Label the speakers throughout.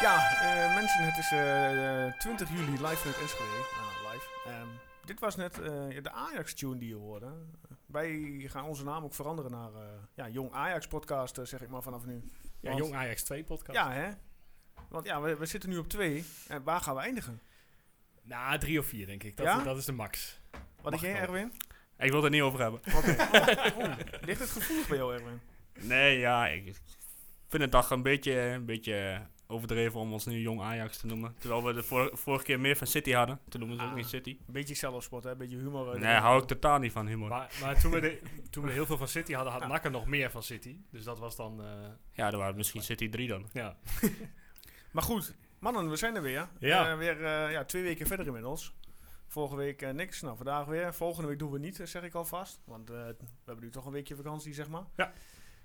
Speaker 1: Ja, eh, mensen, het is eh, eh, 20 juli live vanuit Enschede. Nou, live. Ehm, dit was net eh, de Ajax-tune die je hoorde. Wij gaan onze naam ook veranderen naar eh, ja, Jong Ajax-podcast, eh, zeg ik maar vanaf nu.
Speaker 2: Ja,
Speaker 1: Want-
Speaker 2: Jong Ajax 2 podcast.
Speaker 1: Ja, hè? Want ja, we, we zitten nu op twee. En waar gaan we eindigen?
Speaker 2: Nou, drie of vier denk ik. Dat,
Speaker 1: Ja?
Speaker 2: dat is de max.
Speaker 1: Wat denk
Speaker 2: Mag
Speaker 1: jij,
Speaker 2: wel.
Speaker 1: Erwin?
Speaker 3: Ik wil het er niet over hebben.
Speaker 1: Oké. Oh, oeh, ligt het gevoelig bij jou, Erwin?
Speaker 3: Nee, ja, ik vind het toch een beetje, een beetje overdreven om ons nu jong Ajax te noemen. Terwijl we de vor- vorige keer meer van City hadden. Toen noemen ze
Speaker 1: Ah.
Speaker 3: ook niet City.
Speaker 1: Een beetje zelfspot, hè? Een beetje humor. eh,
Speaker 3: Nee, hou ik totaal niet van humor.
Speaker 2: Maar, maar toen, we de- toen we heel veel van City hadden, had
Speaker 1: Ja.
Speaker 2: Nakker nog meer van City. Dus dat was dan... eh,
Speaker 3: Ja, dan waren het misschien City 3 dan.
Speaker 2: ja.
Speaker 1: Maar goed, mannen, we zijn er weer.
Speaker 2: Ja.
Speaker 1: Eh, weer eh, ja, twee weken verder inmiddels. Vorige week eh, niks, nou vandaag weer. Volgende week doen we niet, eh, zeg ik alvast. Want eh, we hebben nu toch een weekje vakantie, zeg maar.
Speaker 2: Ja.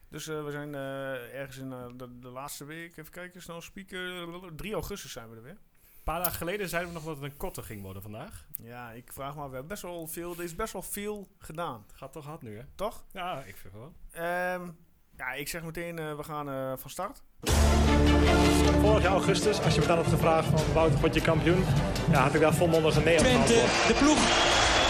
Speaker 1: Dus eh, we zijn eh, ergens in eh, de, de laatste week, even kijken, snel spieken. 3 augustus zijn we er weer.
Speaker 2: Een paar dagen geleden zeiden we nog dat het een korter ging worden vandaag.
Speaker 1: Ja, ik vraag me af, we hebben best wel veel, er is best wel veel gedaan,
Speaker 2: Het gaat toch hard nu, hè?
Speaker 1: toch?
Speaker 2: Ja, ik vind wel.
Speaker 1: Ehm, ja, ik zeg meteen, eh, we gaan eh, van start.
Speaker 4: Vorig jaar augustus, als je me dan had gevraagd van Wouter, word je kampioen? Ja, had ik daar volmondig een nee op
Speaker 5: Twente,
Speaker 4: geantwoord.
Speaker 5: de ploeg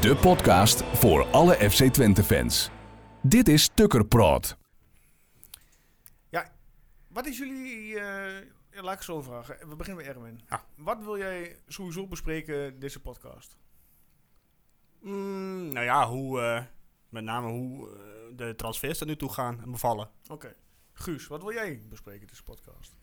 Speaker 6: De podcast voor alle FC Twente fans. Dit is Tukker Praat.
Speaker 1: Ja, wat is jullie, eh, ja, laat ik zo vragen. We beginnen met Erwin.
Speaker 3: Ja.
Speaker 1: Wat wil jij sowieso bespreken deze podcast?
Speaker 3: Mm, nou ja, hoe, eh, met name hoe eh, de transfers er nu toe gaan en bevallen.
Speaker 1: Oké. Guus, wat wil jij bespreken deze podcast?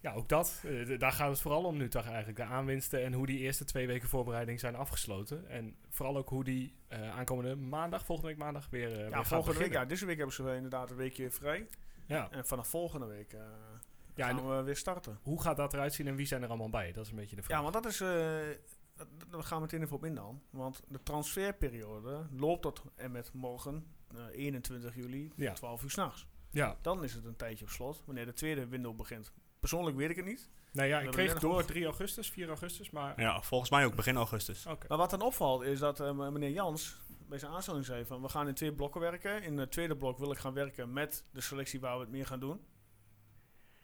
Speaker 2: Ja, ook dat. Eh, d- daar gaat het vooral om nu toch eigenlijk. De aanwinsten en hoe die eerste twee weken voorbereiding zijn afgesloten. En vooral ook hoe die eh, aankomende maandag, volgende week maandag, weer, eh, weer
Speaker 1: Ja,
Speaker 2: gaat
Speaker 1: volgende week,
Speaker 2: beginnen.
Speaker 1: ja, deze week hebben ze inderdaad een weekje vrij.
Speaker 2: Ja.
Speaker 1: En vanaf volgende week eh,
Speaker 2: Ja, en
Speaker 1: gaan we weer starten.
Speaker 2: hoe gaat dat eruit zien en wie zijn er allemaal bij? Dat is een beetje de vraag.
Speaker 1: Ja, want dat is, eh dat- dat- daar gaan we meteen even op in dan. Want de transferperiode loopt tot en met morgen, eh, 21 juli,
Speaker 2: Ja.
Speaker 1: 12 uur s'nachts.
Speaker 2: ja.
Speaker 1: Dan is het een tijdje op slot, wanneer de tweede window begint. Persoonlijk weet ik het niet.
Speaker 2: Nou ja, ik
Speaker 1: We
Speaker 2: kreeg
Speaker 1: hebben
Speaker 2: door 3 augustus, 4 augustus, maar...
Speaker 3: Ja, volgens mij ook begin augustus.
Speaker 2: Oké.
Speaker 1: Maar wat dan opvalt is dat eh, meneer Jans bij zijn aanstelling zei van we gaan in twee blokken werken. In het tweede blok wil ik gaan werken met de selectie waar we het meer gaan doen.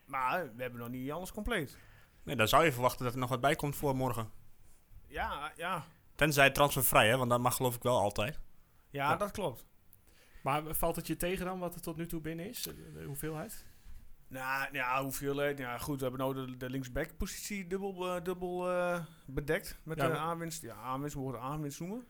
Speaker 1: Maar we hebben nog niet alles compleet.
Speaker 3: Nee, dan zou je verwachten dat er nog wat bij komt voor morgen.
Speaker 1: Ja, ja.
Speaker 3: Tenzij transfervrij, hè, want dat mag geloof ik wel altijd.
Speaker 1: Ja,
Speaker 2: Ja.
Speaker 1: dat klopt.
Speaker 2: Maar valt het je tegen dan wat er tot nu toe binnen is? De, de hoeveelheid?
Speaker 1: Nou, ja, hoeveel... eh, Ja, goed, we hebben nou de, de linksback-positie dubbel, eh, dubbel eh, bedekt met
Speaker 2: Ja,
Speaker 1: de
Speaker 2: maar-
Speaker 1: aanwinst. Ja, aanwinst, we mogen het aanwinst noemen.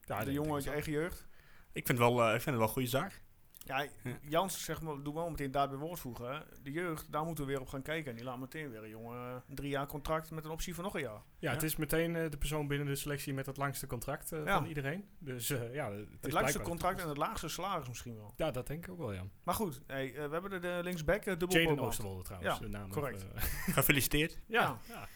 Speaker 2: Ja,
Speaker 1: de jongen uit je eigen jeugd.
Speaker 3: Ik vind, wel, eh, ik vind het wel een goede zaak.
Speaker 1: Ja,
Speaker 3: Ja.
Speaker 1: Jans, zeg maar, doe wel meteen daarbij woord voegen. hè. De jeugd, daar moeten we weer op gaan kijken. En die laat meteen weer een jongen eh, een drie jaar contract met een optie voor nog een jaar.
Speaker 2: Ja, het is meteen eh, de persoon binnen de selectie met het langste contract eh,
Speaker 1: Ja.
Speaker 2: van iedereen. Dus eh, ja, het,
Speaker 1: Het
Speaker 2: is
Speaker 1: langste
Speaker 2: blijkbaar-
Speaker 1: contract en het laagste salaris misschien wel.
Speaker 2: Ja, dat denk ik ook wel, ja.
Speaker 1: Maar goed, hey, eh, we hebben de, de linksback eh, dubbel
Speaker 2: Jaden
Speaker 1: Boban.
Speaker 2: Oosterwolde trouwens,
Speaker 1: Ja,
Speaker 2: de naam.
Speaker 1: correct.
Speaker 2: of, eh,
Speaker 3: Gefeliciteerd.
Speaker 2: ja. Ja.
Speaker 1: Nou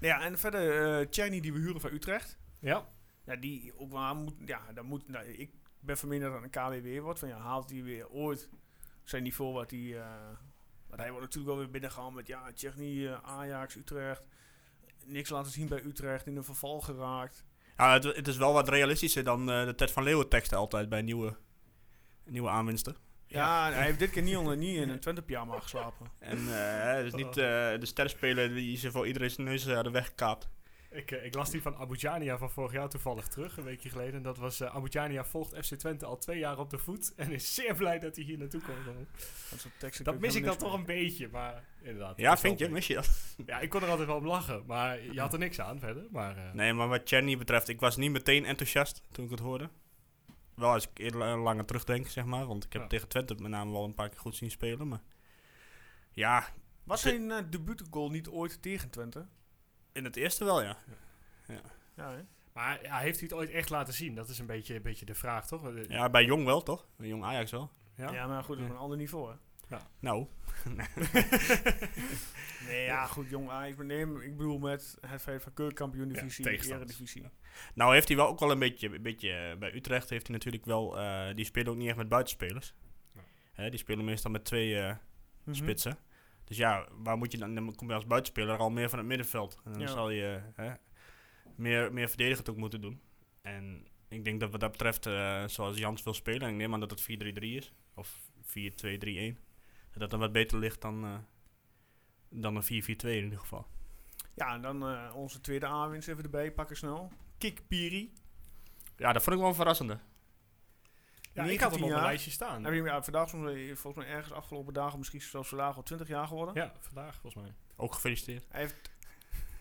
Speaker 1: ja, en verder eh Tjerni die we huren van Utrecht.
Speaker 2: ja.
Speaker 1: Ja, die ook wel moet... Ja, dat moet nou, ik ben van mening dat het een KWW wordt. Van, ja, haalt hij weer ooit zijn niveau wat hij... eh, want hij wordt natuurlijk wel weer binnengehaald met... Ja, Tjerni, eh, Ajax, Utrecht. Niks laten zien bij Utrecht. In een verval geraakt.
Speaker 3: Ja, het, het is wel wat realistischer dan eh, de Ted van Leeuwen teksten altijd bij nieuwe, nieuwe aanwinsten.
Speaker 1: Ja, hij heeft dit keer niet, onder, niet in een Twente-pyjama geslapen.
Speaker 3: En eh, het is niet eh, de sterspeler die ze voor iedereen zijn neus hadden weggekaapt.
Speaker 2: Ik, eh, ik las die van Aboudjania van vorig jaar toevallig terug, een weekje geleden. En dat was, eh Aboudjania volgt FC Twente al twee jaar op de voet. En is zeer blij dat hij hier naartoe komt.
Speaker 1: Dat, soort teksten
Speaker 2: Dat
Speaker 1: kun je
Speaker 2: mis ik dan toch
Speaker 1: helemaal
Speaker 2: een beetje, maar inderdaad.
Speaker 3: Ja,
Speaker 2: dat is
Speaker 3: vind
Speaker 2: wel
Speaker 3: je?
Speaker 2: leuk.
Speaker 3: Mis je dat?
Speaker 2: Ja, ik kon er altijd wel om lachen, maar je had er niks aan verder. Maar, eh,
Speaker 3: Nee, maar wat Cherny betreft, ik was niet meteen enthousiast toen ik het hoorde. Wel als ik eerder eh, langer terugdenk, zeg maar. Want ik heb
Speaker 2: Ja.
Speaker 3: tegen Twente met name wel een paar keer goed zien spelen. Maar ja,
Speaker 1: niks. Was zijn eh, debuutgoal niet ooit tegen Twente?
Speaker 3: in het eerste wel, ja.
Speaker 1: Ja, hè?
Speaker 2: Maar ja, heeft hij het ooit echt laten zien? Dat is een beetje, een beetje de vraag, toch? Eh,
Speaker 3: Ja, bij Jong wel, toch? Bij Jong Ajax wel.
Speaker 2: Ja?
Speaker 1: Ja, maar goed, op een ander niveau. Hè?
Speaker 4: Ja.
Speaker 3: Nou,
Speaker 1: Nee, ja, goed, jong Ajax. maar Nee, ik bedoel met het feit van keurkampioen divisie,
Speaker 4: tegenstanders.
Speaker 1: eredivisie.
Speaker 3: nou heeft hij wel ook wel een beetje, een beetje eh, bij Utrecht heeft hij natuurlijk wel, eh, die spelen ook niet echt met buitenspelers.
Speaker 4: Nee.
Speaker 3: Hè, die spelen meestal met twee eh,
Speaker 1: Mhm.
Speaker 3: spitsen. Dus ja, waar moet je dan, dan kom je als buitenspeler al meer van het middenveld. En dan
Speaker 1: Ja.
Speaker 3: zal je hè, meer, meer verdedigend ook moeten doen. En ik denk dat wat dat betreft, eh, zoals Jans wil spelen, ik neem aan dat het 4-3-3 is. Of 4-2-3-1. Dat dat dan wat beter ligt dan, eh, dan een 4-4-2 in ieder geval.
Speaker 1: Ja, en dan eh, onze tweede aanwinst even erbij pakken snel. Kikpiri.
Speaker 3: Ja, dat vond ik wel een verrassende.
Speaker 4: Ja, ik
Speaker 1: 19
Speaker 4: had hem op mijn
Speaker 1: jaar.
Speaker 4: lijstje staan.
Speaker 1: Heb je hem ja, vandaag soms, eh, volgens mij ergens afgelopen dagen, misschien zelfs vandaag al 20 jaar geworden.
Speaker 4: Ja, vandaag volgens mij.
Speaker 3: Ook gefeliciteerd.
Speaker 1: Hij heeft,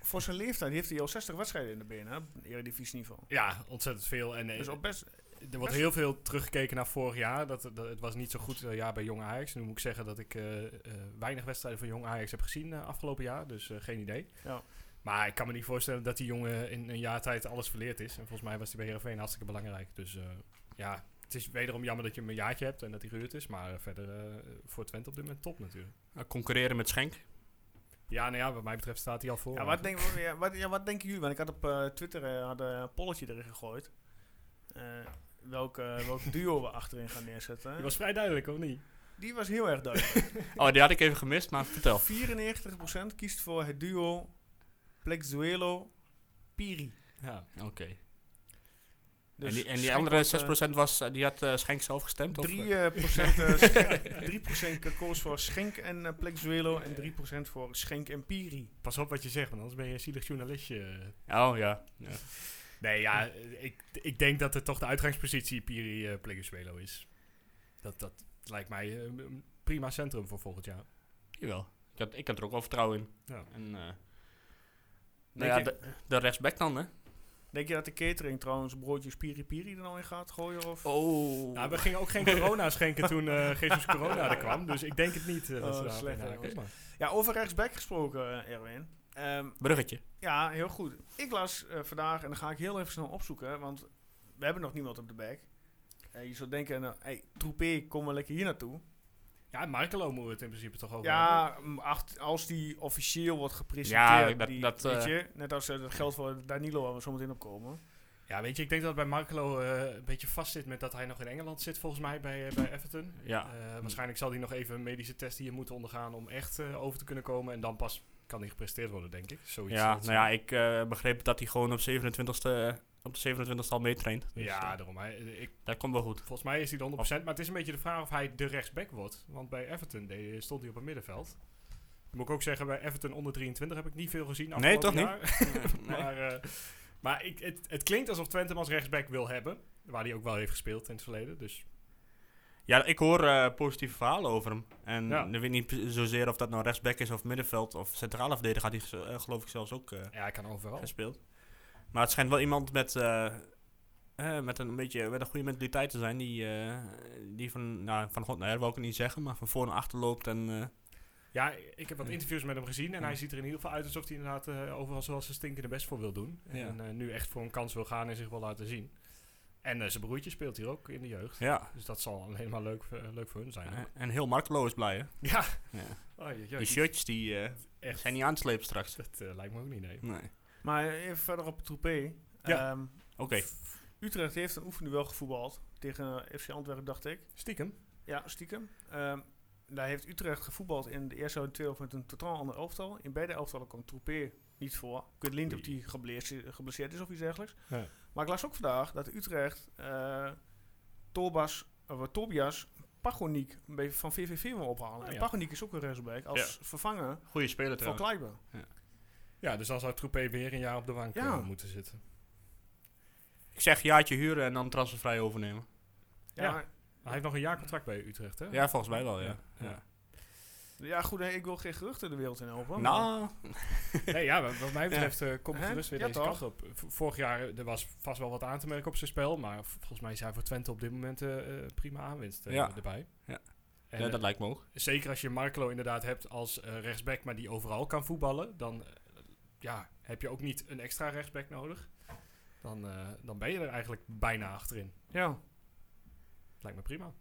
Speaker 1: voor zijn leeftijd heeft hij al 60 wedstrijden in de benen, hè, op eredivisieniveau.
Speaker 4: Ja, ontzettend veel. En, eh,
Speaker 1: Dus op best...
Speaker 4: er wordt heel veel teruggekeken naar vorig jaar. Dat, dat, het was niet zo goed eh, jaar bij Jong Ajax. Nu moet ik zeggen dat ik eh, eh, weinig wedstrijden van Jong Ajax heb gezien eh, afgelopen jaar. Dus eh, geen idee.
Speaker 1: Ja.
Speaker 4: Maar Ah, ik kan me niet voorstellen dat die jongen in een jaar tijd alles verleerd is. En volgens mij was die bij Heerenveen hartstikke belangrijk. Dus eh, ja, het is wederom jammer dat je hem een jaartje hebt en dat hij gehuurd is. Maar eh, verder eh, voor Twente op dit moment top natuurlijk.
Speaker 3: Nou, concurreren met Schenk.
Speaker 4: Ja, nou ja, wat mij betreft staat hij al voor.
Speaker 1: Ja, wat, denk, ja, wat, ja, wat denken jullie? Want ik had op eh, Twitter eh, had, eh, een polletje erin gegooid. Eh, welk, eh, welk duo we achterin gaan neerzetten.
Speaker 4: Die was vrij duidelijk, of niet?
Speaker 1: die was heel erg duidelijk.
Speaker 3: Oh, die had ik even gemist, maar vertel.
Speaker 1: 94% kiest voor het duo Plexuelo Piri.
Speaker 4: Ja.
Speaker 3: Oké.
Speaker 1: Dus
Speaker 3: en die, en die
Speaker 1: Schenk
Speaker 3: andere
Speaker 1: was, eh,
Speaker 3: 6% was, eh, die had eh, Schenk zelf gestemd? of, eh?
Speaker 1: 3%, procent, eh, Schenk- 3 koos voor Schenk en eh, Plexuelo en 3% voor Schenk en Piri.
Speaker 4: Pas op wat je zegt, want anders ben je een zielig journalistje.
Speaker 3: Oh ja. ja.
Speaker 4: Nee, eh. ja, eh, ik, ik denk dat het toch de uitgangspositie Piri eh Pleguezuelo is. Dat, dat lijkt mij eh, een prima centrum voor volgend jaar.
Speaker 3: Jawel. Ik had, ik had er ook wel vertrouwen in.
Speaker 4: Ja.
Speaker 3: En, eh, nou
Speaker 1: Denk
Speaker 3: ja,
Speaker 1: je-
Speaker 3: de, de rechtsback dan, hè?
Speaker 1: Denk je dat de catering trouwens broodjes Piri Piri er nou in gaat gooien? Of?
Speaker 3: Oh.
Speaker 4: Nou, we gingen ook geen corona schenken toen eh Jezus Corona er kwam, dus ik denk het niet. eh, dat
Speaker 1: Oh,
Speaker 4: ze daarop
Speaker 1: slecht,
Speaker 4: inhaken.
Speaker 1: hè,
Speaker 4: Maar-
Speaker 1: Ja, over rechtsback gesproken, eh, Erwin. Ehm,
Speaker 3: Bruggetje.
Speaker 1: ja, heel goed. Ik las eh, vandaag, en dan ga ik heel even snel opzoeken, want we hebben nog niemand op de back. Eh, je zou denken, nou, hey, Troepé, kom maar lekker hier naartoe.
Speaker 4: Ja, Markelo moet het in principe toch ook
Speaker 1: Ja, m, acht- als die officieel wordt
Speaker 3: Ja,
Speaker 1: gepresenteerd,
Speaker 3: dat-
Speaker 1: die,
Speaker 3: dat,
Speaker 1: weet
Speaker 3: eh,
Speaker 1: je, net als eh, dat geldt voor Danilo, waar we zo meteen op komen.
Speaker 4: Ja, weet je, ik denk dat het bij Markelo eh, een beetje vast zit met dat hij nog in Engeland zit, volgens mij, bij, eh, bij Everton.
Speaker 3: Ja.
Speaker 4: Eh, waarschijnlijk zal hij nog even een medische test hier moeten ondergaan om echt eh, over te kunnen komen. En dan pas kan hij gepresteerd worden, denk ik. Zoiets
Speaker 3: ja,
Speaker 4: Dat-
Speaker 3: nou ja, ik eh, begreep dat hij gewoon op, 27e, eh, op de 27e al meetraint. Dus,
Speaker 4: ja,
Speaker 3: eh,
Speaker 4: daarom. Hij, ik,
Speaker 3: dat komt wel goed.
Speaker 4: volgens mij is hij de 100%, maar het is een beetje de vraag of hij de rechtsback wordt. Want bij Everton deed- stond hij op het middenveld. Moet ik ook zeggen, bij Everton onder 23 heb ik niet veel gezien.
Speaker 2: Nou,
Speaker 3: Nee,
Speaker 4: afgelopen
Speaker 3: toch niet?
Speaker 4: jaar.
Speaker 3: Nee.
Speaker 4: Maar, eh, maar ik, het, het klinkt alsof Twente hem als rechtsback wil hebben. Waar hij ook wel heeft gespeeld in het verleden. Dus
Speaker 3: Ja, ik hoor eh, positieve verhalen over hem. En
Speaker 4: Ja.
Speaker 3: ik weet niet pre- zozeer of dat nou rechtsback is of middenveld of centrale verdediger. Had hij z- eh, geloof ik zelfs ook eh,
Speaker 4: ja, hij kan overal.
Speaker 3: gespeeld. Maar het schijnt wel iemand met, eh, eh, met, een, beetje, met een goede mentaliteit te zijn. Die, eh, die van, nou, van God naar her wil ik het niet zeggen, maar van voor naar achter loopt. En, eh,
Speaker 4: Ja, ik heb wat interviews met hem gezien en
Speaker 3: Ja.
Speaker 4: hij ziet er in ieder geval uit alsof hij inderdaad eh, overal zoals zijn stinkende best voor wil doen.
Speaker 3: Ja.
Speaker 4: En eh, nu echt voor een kans wil gaan en zich wil laten zien. En eh, zijn broertje speelt hier ook in de jeugd.
Speaker 3: ja.
Speaker 4: Dus dat zal helemaal leuk, voor- eh, leuk voor hun zijn.
Speaker 3: Eh, en heel Markelo is blij, hè?
Speaker 4: Ja.
Speaker 3: Ja.
Speaker 4: Oh, je,
Speaker 3: Die shirtjes die, eh,
Speaker 4: echt.
Speaker 3: zijn niet aan te slepen straks.
Speaker 4: Dat eh, lijkt me ook niet, nee.
Speaker 3: Nee.
Speaker 1: Maar eh, even verder op Troepé.
Speaker 4: Ja.
Speaker 1: Ehm,
Speaker 3: Oké,
Speaker 1: Utrecht heeft een oefenduel gevoetbald tegen eh, FC Antwerpen, dacht ik.
Speaker 4: Stiekem.
Speaker 1: Ja, stiekem. Ehm, daar heeft Utrecht gevoetbald in de eerste en tweede helft met een totaal ander elftal. In beide elftallen komt Troepé niet voor. Ik weet op
Speaker 4: Oei.
Speaker 1: die geblesseerd, geblesseerd is of iets dergelijks.
Speaker 4: Ja.
Speaker 1: Maar ik las ook vandaag dat Utrecht eh Tobas, of, eh, Tobias Pagoniek een beetje van VVV wil ophalen.
Speaker 4: Ah,
Speaker 1: En
Speaker 4: ja.
Speaker 1: Pagoniek is ook een rechtsback als vervanger
Speaker 3: goede speler
Speaker 1: van
Speaker 3: trouwens.
Speaker 1: Kleiber.
Speaker 4: Ja, dus dan zou Troepé weer een jaar op de bank
Speaker 1: Ja.
Speaker 4: eh, moeten zitten.
Speaker 3: Ik zeg jaartje huren en dan transfervrij overnemen.
Speaker 1: Ja,
Speaker 4: Ja. Hij heeft nog een jaar contract bij Utrecht, hè?
Speaker 3: Ja, volgens mij wel, ja.
Speaker 4: Ja.
Speaker 3: ja.
Speaker 1: ja, goed, hè, ik wil geen geruchten de wereld in helpen. maar-
Speaker 3: Nou,
Speaker 4: Nee, ja, wat wat mij betreft eh, komt het
Speaker 1: Hè?
Speaker 4: rust weer
Speaker 1: Ja,
Speaker 4: deze
Speaker 1: toch?
Speaker 4: kant op. V- Vorig jaar eh, er was vast wel wat aan te merken op zijn spel, maar v- volgens mij zijn voor Twente op dit moment eh, eh, prima aanwinst eh,
Speaker 3: Ja.
Speaker 4: erbij.
Speaker 3: Ja.
Speaker 4: En,
Speaker 3: ja,
Speaker 4: eh,
Speaker 3: dat lijkt me ook.
Speaker 4: zeker als je Markelo inderdaad hebt als eh, rechtsback, maar die overal kan voetballen, dan eh, ja, heb je ook niet een extra rechtsback nodig. Dan, eh, dan ben je er eigenlijk bijna achterin.
Speaker 1: ja.
Speaker 4: Lijkt me prima.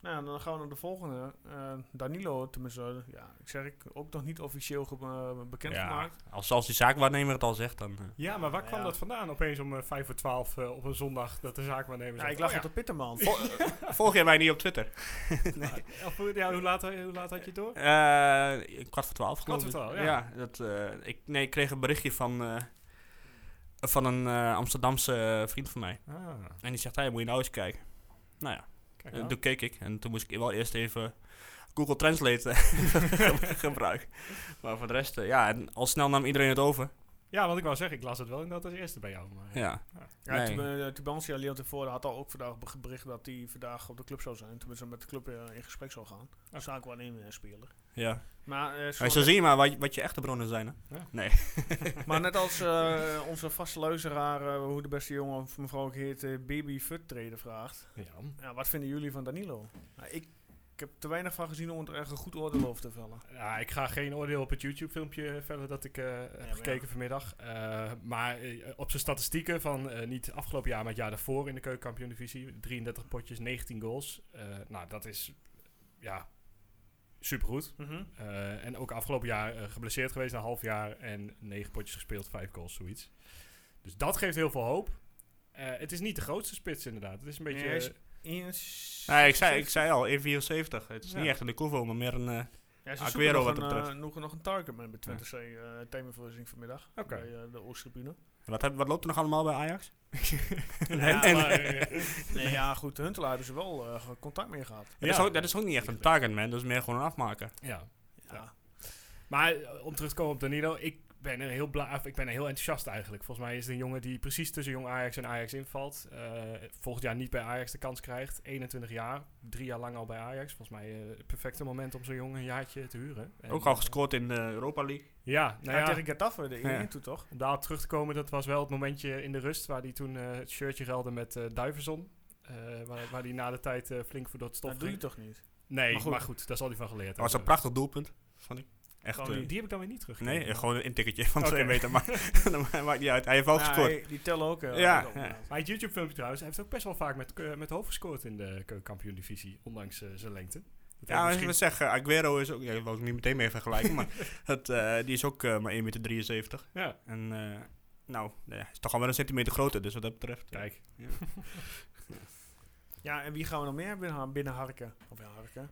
Speaker 1: Nou, ja, dan gaan we naar de volgende. Eh, Danilo, tenminste, eh, ja, ik zeg ik ook nog niet officieel ge- eh, bekendgemaakt.
Speaker 3: Als, als die zaakwaarnemer het al zegt, dan... eh,
Speaker 2: Ja, maar waar kwam
Speaker 1: Nou Ja.
Speaker 2: dat vandaan opeens om eh, vijf voor twaalf eh, op een zondag dat de zaakwaarnemer
Speaker 1: Ja, Nou,
Speaker 2: zegt,
Speaker 1: ik lag
Speaker 2: oh
Speaker 1: op de Pitterman.
Speaker 3: volg jij mij niet op Twitter?
Speaker 2: ja, of, eh, ja, hoe, laat, hoe laat had je het door?
Speaker 4: Oh.
Speaker 3: Eh, kwart voor twaalf,
Speaker 2: Kwart
Speaker 3: geloof
Speaker 2: voor
Speaker 3: ik.
Speaker 2: twaalf, ja.
Speaker 3: dat, eh, ik, nee, ik kreeg een berichtje van, eh, van een eh, Amsterdamse eh, vriend van mij.
Speaker 2: Ah,
Speaker 3: En die zegt, hey, moet je nou eens kijken. Nou ja,
Speaker 2: kijk
Speaker 3: eh,
Speaker 2: aan.
Speaker 3: toen keek ik. En toen moest ik wel eerst even Google Translate eh, gebruiken. Maar voor de rest, eh, ja, en al snel nam iedereen het over.
Speaker 2: Ja, want ik wou zeggen, ik las het wel inderdaad als eerste bij jou. Maar,
Speaker 3: Ja.
Speaker 1: Ja,
Speaker 3: Nee.
Speaker 1: nee. Tubantia Leon tevoren had al ook vandaag be- bericht dat hij vandaag op de club zou zijn. Tenminste, met de club eh, in gesprek zou gaan.
Speaker 2: Oké.
Speaker 1: Dat zou ik wel in eh, speler.
Speaker 3: ja.
Speaker 1: Maar, eh,
Speaker 3: Maar
Speaker 1: zoals-
Speaker 3: zo zie je maar wat, je- wat je echte bronnen zijn, hè?
Speaker 1: maar net als eh, onze vaste luisteraar, eh, hoe de beste jongen of mevrouw ook heet, eh, Baby Fut treden vraagt.
Speaker 2: ja.
Speaker 1: Ja, wat vinden jullie van Danilo? Nou, ik, ik heb te weinig van gezien om het erg een goed oordeel over te vellen.
Speaker 2: Ja, ik ga geen oordeel op het YouTube-filmpje verder dat ik eh, heb
Speaker 1: maar ja.
Speaker 2: gekeken vanmiddag. Eh, maar eh, op zijn statistieken van eh, niet afgelopen jaar, maar het jaar daarvoor in de keukenkampioen-divisie. 33 potjes, 19 goals. Eh, nou, dat is ja, supergoed.
Speaker 1: Mhm.
Speaker 2: Eh, en ook afgelopen jaar eh, geblesseerd geweest, een half jaar. En negen potjes gespeeld, vijf goals, zoiets. Dus dat geeft heel veel hoop. Eh, het is niet de grootste spits, inderdaad. Het is een beetje...
Speaker 1: Nee, hij is-
Speaker 2: eh,
Speaker 1: Eens-
Speaker 3: Nee, ik zei, ik zei al, 1,74. Het is
Speaker 2: Ja.
Speaker 3: niet echt een Decovo, maar meer een... eh,
Speaker 1: Ja, ze
Speaker 3: Aguero
Speaker 1: zoeken nog
Speaker 3: wat
Speaker 1: een,
Speaker 3: dat betreft.
Speaker 1: eh, nog, nog een target met bij Twente C eh themaverhuizing vanmiddag.
Speaker 2: Oké.
Speaker 1: Bij eh, de Oosttribune.
Speaker 3: wat, heb, wat loopt er nog allemaal bij Ajax? en,
Speaker 2: ja,
Speaker 3: en-
Speaker 2: maar, eh,
Speaker 1: Nee, ja, goed, Huntelaar hebben ze wel eh, contact mee gehad.
Speaker 3: Dat, is ook, dat is ook niet echt een target, man. Dat is meer gewoon een afmaker.
Speaker 2: ja.
Speaker 1: ja.
Speaker 2: Maar eh, om terug te komen op Danilo, ik ben er heel bla of ik ben er heel enthousiast eigenlijk. Volgens mij is het een jongen die precies tussen jong Ajax en Ajax invalt. Eh, volgend jaar niet bij Ajax de kans krijgt. 21 jaar, drie jaar lang al bij Ajax. Volgens mij eh, het perfecte moment om zo'n jongen een jaartje te huren. En,
Speaker 3: Ook al
Speaker 2: eh,
Speaker 3: gescoord in de Europa League.
Speaker 2: Ja, nou ja,
Speaker 1: tegen Getafe, de 1-1
Speaker 3: Ja.
Speaker 1: toe toch?
Speaker 2: om daarop terug te komen, dat was wel het momentje in de rust waar hij toen eh, het shirtje ruilde met eh Duivenson. Eh, waar, waar hij na de tijd eh, flink voor door het stof
Speaker 1: dat doe je
Speaker 2: ging.
Speaker 1: toch niet?
Speaker 2: Nee, maar
Speaker 1: Maar
Speaker 2: goed.
Speaker 1: goed.
Speaker 2: daar zal hij van geleerd
Speaker 3: Dat was een
Speaker 2: hebben.
Speaker 3: prachtig doelpunt, vond ik. Echt,
Speaker 1: Gewoon
Speaker 3: eh,
Speaker 1: prachtig-
Speaker 2: Die heb ik dan weer niet terug.
Speaker 3: nee, eh, gewoon een intikketje van
Speaker 2: Oké.
Speaker 3: twee meter. Maar dat maakt niet uit. Hij heeft wel
Speaker 1: Ja,
Speaker 3: gescoord.
Speaker 1: hij- die tellen ook. eh,
Speaker 3: Ja,
Speaker 1: ook
Speaker 3: ja.
Speaker 1: inderdaad.
Speaker 2: Maar het YouTube-filmpje trouwens, hij heeft ook best wel vaak met, eh, met hoofd gescoord in de keukenkampioen-divisie, ondanks eh, zijn lengte. Dat
Speaker 3: Ja,
Speaker 2: heeft
Speaker 3: ik wil
Speaker 2: misschien-
Speaker 3: zeggen, Aguero is ook... Ja, ik wil ik niet meteen mee vergelijken, maar het, eh, die is ook eh, maar 1,73 meter.
Speaker 2: ja.
Speaker 3: En eh, nou, nou ja, hij is toch al wel een centimeter groter, dus wat dat betreft... eh,
Speaker 2: Kijk,
Speaker 1: Ja, en wie gaan we nog meer binnen, binnenharken? Of ja, harken?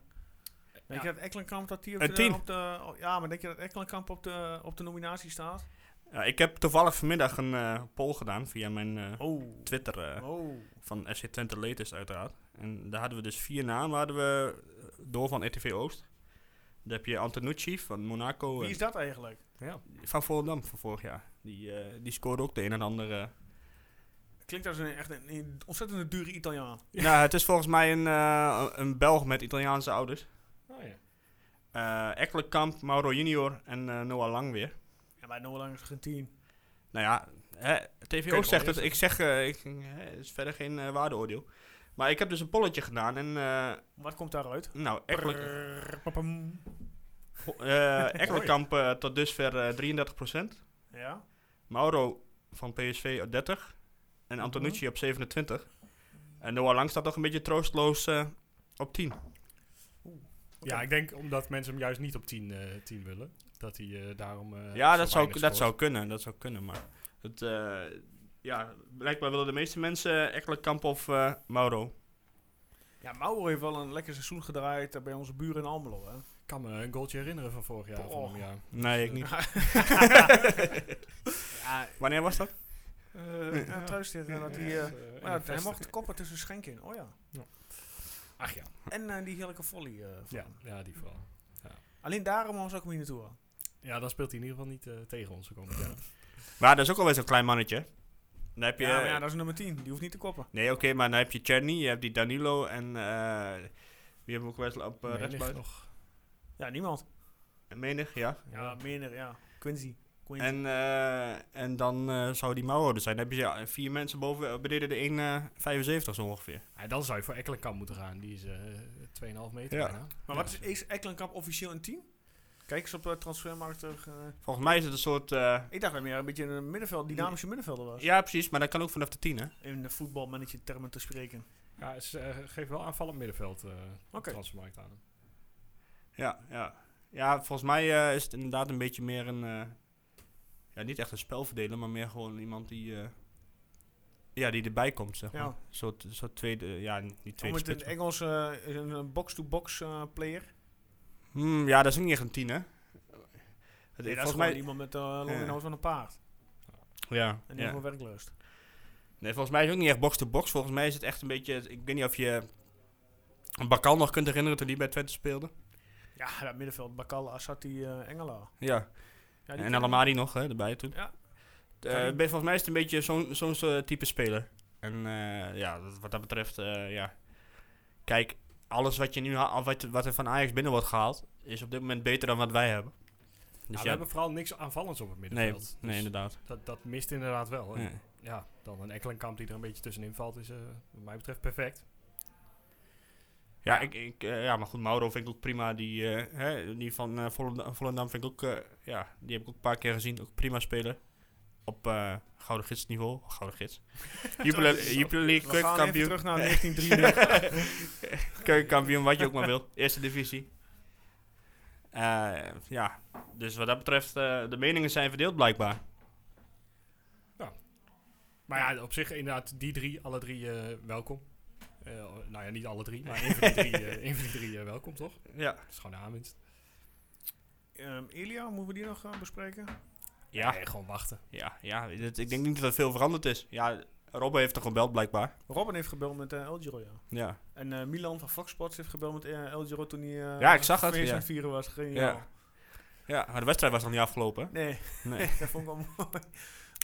Speaker 1: Denk
Speaker 2: Ja.
Speaker 1: je dat Ekkelenkamp dat die op
Speaker 2: Eh,
Speaker 3: Een
Speaker 1: de,
Speaker 3: tien.
Speaker 1: op de... oh, Ja, maar denk je dat Ekkelenkamp op de, op de nominatie staat?
Speaker 3: ja, ik heb toevallig vanmiddag een eh, poll gedaan via mijn eh,
Speaker 1: Oh.
Speaker 3: Twitter... eh,
Speaker 1: Oh.
Speaker 3: van FC Twente Latest uiteraard. En daar hadden we dus vier namen hadden we eh, door van RTV Oost. Dan heb je Antonucci van Monaco
Speaker 1: Wie
Speaker 3: en
Speaker 1: is dat eigenlijk?
Speaker 2: ja.
Speaker 3: van Volendam van vorig jaar. Die, eh, die scoorde ook de een en ander. eh.
Speaker 1: Klinkt als een, echt een, een ontzettend dure Italiaan.
Speaker 3: Nou, het is volgens mij een, eh, een Belg met Italiaanse ouders.
Speaker 2: Oh, ja.
Speaker 3: Eh Ekkelenkamp, Mauro Junior en eh, Noah Lang weer.
Speaker 1: Ja, maar Noah Lang is geen tien.
Speaker 3: Nou ja, hè, TV
Speaker 2: wel
Speaker 3: Oost zegt het.
Speaker 2: eerst
Speaker 3: Ik zeg, eh, ik, hè, het is verder geen eh, waardeoordeel. Maar ik heb dus een polletje gedaan en eh,
Speaker 1: Wat komt daaruit?
Speaker 3: nou, Ekkelen,
Speaker 1: Prrrr, papam.
Speaker 3: eh, Ekkelenkamp eh, tot dusver eh 33%.
Speaker 1: Ja?
Speaker 3: Mauro van PSV op 30 en
Speaker 2: Mhm.
Speaker 3: Antonucci op 27. En Noah Lang staat toch een beetje troosteloos eh, op 10.
Speaker 2: ja, ik denk omdat mensen hem juist niet op 10 eh, 10 willen, dat hij eh, daarom... eh,
Speaker 3: ja,
Speaker 2: zo
Speaker 3: dat zou, dat
Speaker 2: weinig scoort.
Speaker 3: zou kunnen, dat zou kunnen, maar het, eh, ja, blijkbaar willen de meeste mensen Ekkelenkamp of eh, Mauro.
Speaker 1: Ja, Mauro heeft wel een lekker seizoen gedraaid eh, bij onze buren in Almelo, hè?
Speaker 2: Ik kan me een goaltje herinneren van vorig jaar. Van
Speaker 1: Oh.
Speaker 2: hem, ja.
Speaker 3: Nee, ik niet.
Speaker 1: ja,
Speaker 3: Wanneer was dat?
Speaker 1: eh, ja, thuis tegen dat hij... eh,
Speaker 2: eh, in
Speaker 1: Maar ja,
Speaker 2: de
Speaker 1: hij
Speaker 2: vesten.
Speaker 1: mocht koppen tussen schenken in. Oh ja.
Speaker 2: Ach ja,
Speaker 1: En eh, die heerlijke volley. eh, van
Speaker 2: ja,
Speaker 1: hem.
Speaker 2: ja, die vooral.
Speaker 1: Alleen daarom was ik hem hier naartoe. hoor.
Speaker 2: Ja, dan speelt hij in ieder geval niet eh, tegen ons. Komend jaar.
Speaker 3: Maar dat is ook alweer zo'n klein mannetje. Dan heb je,
Speaker 1: Ja, maar ja, dat is nummer 10. Die hoeft niet te koppen.
Speaker 3: nee, oké, maar dan heb je Cherny, je hebt die Danilo en eh wie hebben we ook wel eens op uh,
Speaker 2: Nee, ligt
Speaker 3: rechtsbuiten?
Speaker 2: nog.
Speaker 1: Ja, niemand.
Speaker 3: Menig, ja.
Speaker 1: Ja, meerdere, ja. Quincy. Quincy.
Speaker 3: En, eh, en dan eh, zou die Mauro er zijn. Dan heb je ja, vier mensen boven, eh, beneden de 1,75 zo ongeveer.
Speaker 2: Ja, dan zou je voor Ekkelenkamp moeten gaan. Die is eh 2,5 meter
Speaker 3: Ja.
Speaker 2: bijna.
Speaker 1: maar wat is, is Ekkelenkamp officieel een 10? Kijk eens op eh, transfermarkt. eh,
Speaker 3: Volgens mij is het een soort... eh,
Speaker 1: ik dacht dat hij meer een beetje een middenveld, dynamische middenvelder was.
Speaker 3: ja, precies, maar dat kan ook vanaf de 10, hè?
Speaker 1: In de voetbalmanager termen te spreken.
Speaker 2: Ja, ze eh, geeft wel aanvallend middenveld eh op
Speaker 1: Oké.
Speaker 2: de transfermarkt aan.
Speaker 3: Ja, ja. ja volgens mij eh, is het inderdaad een beetje meer een. eh, ja, niet echt een spelverdeler, maar meer gewoon iemand die. eh, ja, die erbij komt, zeg maar.
Speaker 1: Ja.
Speaker 3: Een soort, een soort tweede. eh, Ja, niet
Speaker 1: Om het
Speaker 3: tweede.
Speaker 1: in
Speaker 3: Spits,
Speaker 1: het Engels eh, is een een box-to-box eh, player.
Speaker 3: maar- Hmm, ja, dat is ook niet echt een tien, hè? Het-
Speaker 1: Nee, dat is
Speaker 3: volgens
Speaker 1: gewoon
Speaker 3: mij.
Speaker 1: iemand met eh long en
Speaker 3: Ja.
Speaker 1: hoofd van een paard.
Speaker 3: Ja,
Speaker 1: En die
Speaker 3: ja.
Speaker 1: heeft wel werklust.
Speaker 3: Nee, volgens mij is het ook niet echt box-to-box. Volgens mij is het echt een beetje. Ik weet niet of je. Bakal nog kunt herinneren toen die bij Twente speelde.
Speaker 1: Ja, dat middenveld. Bakal, Assati, eh, Engelaar.
Speaker 3: Ja.
Speaker 1: Ja, die
Speaker 3: En
Speaker 1: ken-
Speaker 3: Alamari nog, hè, erbij toen.
Speaker 1: Ja.
Speaker 3: Eh,
Speaker 1: Kan-
Speaker 3: ben- volgens mij is het een beetje zo'n zo'n soort type speler. En eh, ja, dat- wat dat betreft, eh, ja. Kijk, alles wat, je nu ha- of wat, wat er van Ajax binnen wordt gehaald, is op dit moment beter dan wat wij hebben.
Speaker 2: Nou,
Speaker 3: Dus
Speaker 2: we
Speaker 3: ja,
Speaker 2: hebben vooral niks aanvallends op het
Speaker 3: nee,
Speaker 2: middenveld. Dus
Speaker 3: nee, inderdaad.
Speaker 2: dat, dat mist inderdaad wel. En
Speaker 3: Nee.
Speaker 2: Ja, dan een Ekkelenkamp die er een beetje tussenin valt is eh, wat mij betreft perfect.
Speaker 3: Ja, ik, ik, eh, ja, maar goed, Mauro vind ik ook prima. Die, eh, hè, die van eh, Volendam, Volendam vind ik ook, eh, ja, die heb ik ook een paar keer gezien. Ook prima speler. Op eh, gouden gidsniveau. Gouden gids. Jupiler Jupiler League,
Speaker 1: We gaan even
Speaker 3: keukenkampioen.
Speaker 1: terug naar 1933.
Speaker 3: Keukenkampioen, wat je ook maar wilt. Eerste divisie. Eh, ja, dus wat dat betreft, eh, de meningen zijn verdeeld blijkbaar.
Speaker 2: Maar ja, op zich inderdaad die drie, alle drie eh, welkom. Eh, nou ja, niet alle drie, maar één van die drie, eh, één van die drie eh, welkom toch?
Speaker 3: Ja.
Speaker 2: Dat is gewoon de aanwinst.
Speaker 1: Ehm Elia, moeten we die nog eh, bespreken?
Speaker 3: Ja,
Speaker 2: Nee, Eh, gewoon wachten.
Speaker 3: ja, ja. dit- ik denk niet dat er veel veranderd is. Ja, Robben heeft er gebeld blijkbaar.
Speaker 1: Robin heeft gebeld met eh El Giro, ja.
Speaker 3: Ja.
Speaker 1: En eh, Milan van Fox Sports heeft gebeld met eh, El Giro toen hij... eh,
Speaker 3: Ja, ik zag het,
Speaker 1: feest
Speaker 3: ja.
Speaker 1: aan het vieren was. Geniaal.
Speaker 3: Ja. ja, maar de wedstrijd was nog niet afgelopen. hè?
Speaker 1: Nee,
Speaker 3: Nee.
Speaker 1: dat vond ik wel mooi.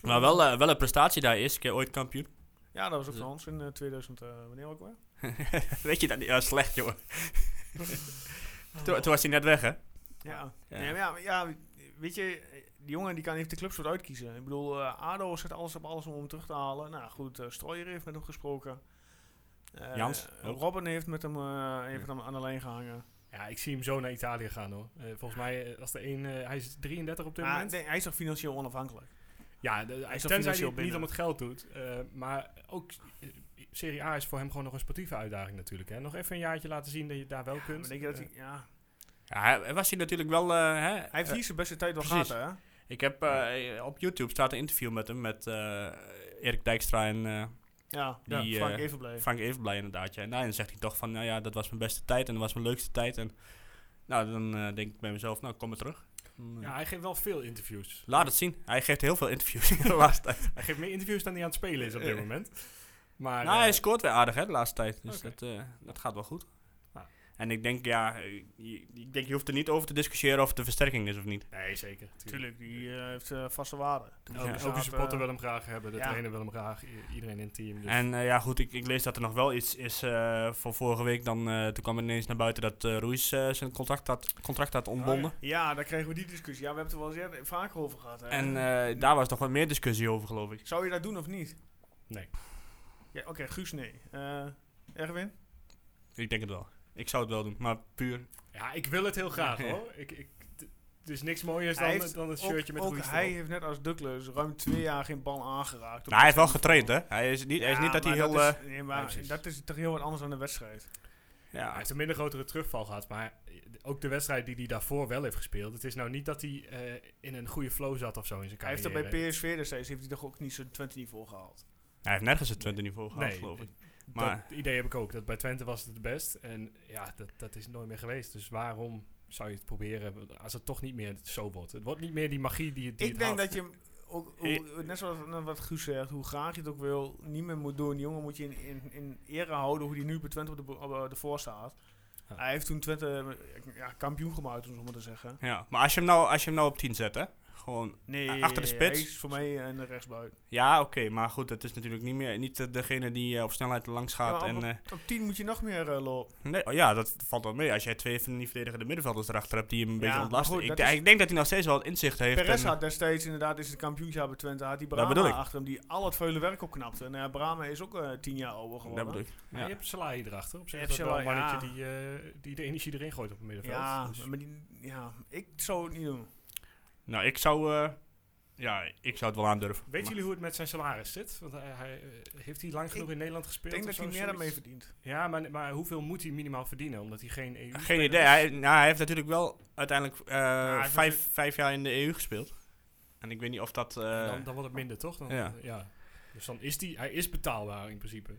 Speaker 3: Maar wel, eh, wel een prestatie daar, eerste keer ooit kampioen.
Speaker 1: Ja, dat was ook
Speaker 3: Ja.
Speaker 1: van ons in eh, 2000, eh, wanneer ook weer?
Speaker 3: Weet je dat niet? Ja, slecht, joh. toen, toen was hij net weg, hè?
Speaker 1: Ja. Nee, maar ja, maar ja, weet je, die jongen die kan heeft de clubs wat uitkiezen. Ik bedoel, eh, ADO zet alles op alles om hem terug te halen. Nou goed, eh Strooier heeft met hem gesproken. Eh,
Speaker 3: Jans,
Speaker 1: eh,
Speaker 3: ook.
Speaker 1: Robin heeft met hem, eh, heeft hem aan de lijn gehangen.
Speaker 2: Ja, ik zie hem zo naar Italië gaan hoor. Eh, volgens mij, eh, als de één, eh, hij is 33 op dit
Speaker 1: Maar
Speaker 2: moment.
Speaker 1: nee, hij is toch financieel onafhankelijk?
Speaker 2: Ja, de,
Speaker 1: is toch
Speaker 2: tenzij hij
Speaker 1: financieel
Speaker 2: het niet
Speaker 1: binnen.
Speaker 2: om het geld doet. eh, maar ook eh, Serie A is voor hem gewoon nog een sportieve uitdaging natuurlijk. Hè. Nog even een jaartje laten zien dat je het daar wel kunt.
Speaker 1: Maar denk je dat
Speaker 2: Eh,
Speaker 1: hij, ja.
Speaker 3: Ja, hij- was hij natuurlijk wel... eh, hè?
Speaker 1: hij heeft hier zijn beste tijd wel gehad,
Speaker 3: precies.
Speaker 1: hè?
Speaker 3: Ik heb eh, op YouTube staat een interview met hem, met eh, Erik Dijkstra en eh,
Speaker 1: Ja,
Speaker 3: Die,
Speaker 1: ja Frank
Speaker 3: eh,
Speaker 1: even blijven.
Speaker 3: Frank Evenblij inderdaad. Ja. En daarin zegt hij toch van, nou ja, dat was mijn beste tijd en dat was mijn leukste tijd. En nou, dan eh, denk ik bij mezelf, nou, kom maar terug. Dan, eh,
Speaker 2: ja, hij geeft wel veel interviews.
Speaker 3: Laat het zien. Hij geeft heel veel interviews de laatste tijd.
Speaker 2: Hij geeft meer interviews dan hij aan het spelen is op dit
Speaker 3: Eh.
Speaker 2: moment. Maar
Speaker 3: nou,
Speaker 2: eh,
Speaker 3: hij scoort weer aardig hè, de laatste tijd. Dus
Speaker 2: Oké. Ah.
Speaker 3: dat, eh, dat gaat wel goed.
Speaker 2: Ja.
Speaker 3: En ik denk, ja, eh, je- ik denk, je hoeft er niet over te discussiëren of het een versterking is of niet.
Speaker 2: nee, zeker.
Speaker 1: Tuurlijk,
Speaker 2: Tuurlijk.
Speaker 1: die eh, heeft eh, vaste waarden.
Speaker 2: Elke,
Speaker 3: Ja.
Speaker 2: elke
Speaker 1: Zaten-
Speaker 2: supporter wil hem graag hebben, de
Speaker 1: eh, Ja.
Speaker 2: trainer wil hem graag, i- iedereen in het team. Dus.
Speaker 3: En eh, ja, goed, ik, ik lees dat er nog wel iets is eh, voor vorige week. Dan, eh, toen kwam ineens naar buiten dat eh Ruiz eh, zijn contract had, contract had ontbonden.
Speaker 1: Ja, daar kregen we die discussie. Ja, we hebben het er wel eens eerder- vaker over gehad. Hè?
Speaker 3: En eh, daar was nog wat meer discussie over, geloof ik.
Speaker 1: Zou je dat doen of niet?
Speaker 2: Nee.
Speaker 1: Ja, Oké, Guus, nee. Eh Erwin?
Speaker 3: Ik denk het wel. Ik zou het wel doen, maar puur.
Speaker 2: ja, ik wil het heel graag
Speaker 3: Ja.
Speaker 2: hoor. Ik, ik, t- er is niks mooiers
Speaker 1: Hij
Speaker 2: dan,
Speaker 1: heeft
Speaker 2: dan het shirtje
Speaker 1: ook,
Speaker 2: met
Speaker 1: ook
Speaker 2: Ruiz
Speaker 1: hij
Speaker 2: erop.
Speaker 1: heeft net als Douglas ruim twee jaar geen bal aangeraakt.
Speaker 3: Nou, hij heeft wel getraind, hè? Hij is niet, hij is niet dat hij heel.
Speaker 1: Dat
Speaker 3: eh,
Speaker 1: is, nee,
Speaker 3: ja,
Speaker 1: maar
Speaker 3: precies.
Speaker 1: dat is toch heel wat anders dan de wedstrijd.
Speaker 2: Hij
Speaker 3: ja,
Speaker 2: heeft een minder grotere terugval gehad, maar eh, ook de wedstrijd die hij daarvoor wel heeft gespeeld. Het is nou niet dat hij eh, in een goede flow zat of zo in zijn
Speaker 1: Hij heeft
Speaker 2: carrière.
Speaker 1: er bij PSV destijds heeft hij toch ook niet zijn 20 niveau gehaald.
Speaker 3: hij heeft nergens het Twente niveau gehaald,
Speaker 2: Nee,
Speaker 3: geloof ik.
Speaker 2: Maar
Speaker 3: Maar-
Speaker 2: dat idee heb ik ook. Dat bij Twente was het het best. En ja, dat, dat is nooit meer geweest. Dus waarom zou je het proberen als het toch niet meer zo wordt? Het wordt niet meer die magie die het die
Speaker 1: Ik
Speaker 2: het
Speaker 1: denk
Speaker 2: had.
Speaker 1: dat je hem ook, hoe- net zoals net wat Guus zegt, hoe graag je het ook wil, niet meer moet doen. Die jongen moet je in, in, in ere houden hoe die nu bij Twente op de, bo- op, eh, de voor staat.
Speaker 2: Ja.
Speaker 1: Hij heeft toen Twente eh, ja, kampioen gemaakt, om zo maar te zeggen.
Speaker 3: Ja, maar als je, hem nou, als je hem nou op 10 zet, hè? Gewoon.
Speaker 1: Nee,
Speaker 3: Achter de spits?
Speaker 1: hij is voor mij en de rechtsbuiten.
Speaker 3: Ja, oké, maar goed, het is natuurlijk niet meer. Niet eh, degene die eh, op snelheid langs gaat.
Speaker 1: Ja,
Speaker 3: en, eh,
Speaker 1: Op 10 moet je nog meer eh, lopen.
Speaker 3: nee, oh, ja, dat valt wel mee. Als jij twee van die verdedigende middenvelders erachter hebt die hem een
Speaker 1: Ja,
Speaker 3: beetje
Speaker 1: maar
Speaker 3: ontlasten.
Speaker 1: goed,
Speaker 3: ik,
Speaker 1: dat
Speaker 3: denk-
Speaker 1: is-
Speaker 3: ik denk dat hij nog steeds wel het inzicht heeft.
Speaker 1: Perez
Speaker 3: en-
Speaker 1: had destijds inderdaad is het kampioensjaar bij Twente. Had die
Speaker 3: Dat
Speaker 1: Brahma
Speaker 3: bedoel ik.
Speaker 1: achter hem die al het vele werk opknapte. En eh Brahma is ook eh, 10 jaar ouder
Speaker 3: dat
Speaker 1: geworden.
Speaker 3: bedoel ik.
Speaker 2: Maar
Speaker 3: Ja.
Speaker 2: je hebt Salahi erachter. Op zich
Speaker 1: Je
Speaker 2: is
Speaker 1: hebt
Speaker 2: dat wel een
Speaker 1: Salahi,
Speaker 2: mannetje die, eh, die de energie erin gooit op het middenveld.
Speaker 1: ja,
Speaker 2: Dus-
Speaker 1: maar die, ja, ik zou het niet doen.
Speaker 3: Nou, ik zou. eh, Ja, ik zou het wel aandurven.
Speaker 2: Weet
Speaker 3: Maar
Speaker 2: jullie hoe het met zijn salaris zit? Want hij, hij, eh, heeft hij lang genoeg in Nederland
Speaker 1: Ik
Speaker 2: gespeeld?
Speaker 1: denk
Speaker 2: of
Speaker 1: dat hij
Speaker 2: zo,
Speaker 1: meer dan mee
Speaker 2: zoiets?
Speaker 1: verdient.
Speaker 2: Ja, maar, maar hoeveel moet hij minimaal verdienen? Omdat hij geen E EU
Speaker 3: Geen idee. Hij, nou, hij heeft natuurlijk wel uiteindelijk eh,
Speaker 1: heeft
Speaker 3: vijf,
Speaker 1: natuurlijk-
Speaker 3: vijf jaar in de EU gespeeld. En ik weet niet of dat... eh,
Speaker 2: dan, dan wordt het minder, toch? Dan,
Speaker 3: ja.
Speaker 2: ja. Dus dan is die, hij is betaalbaar in principe.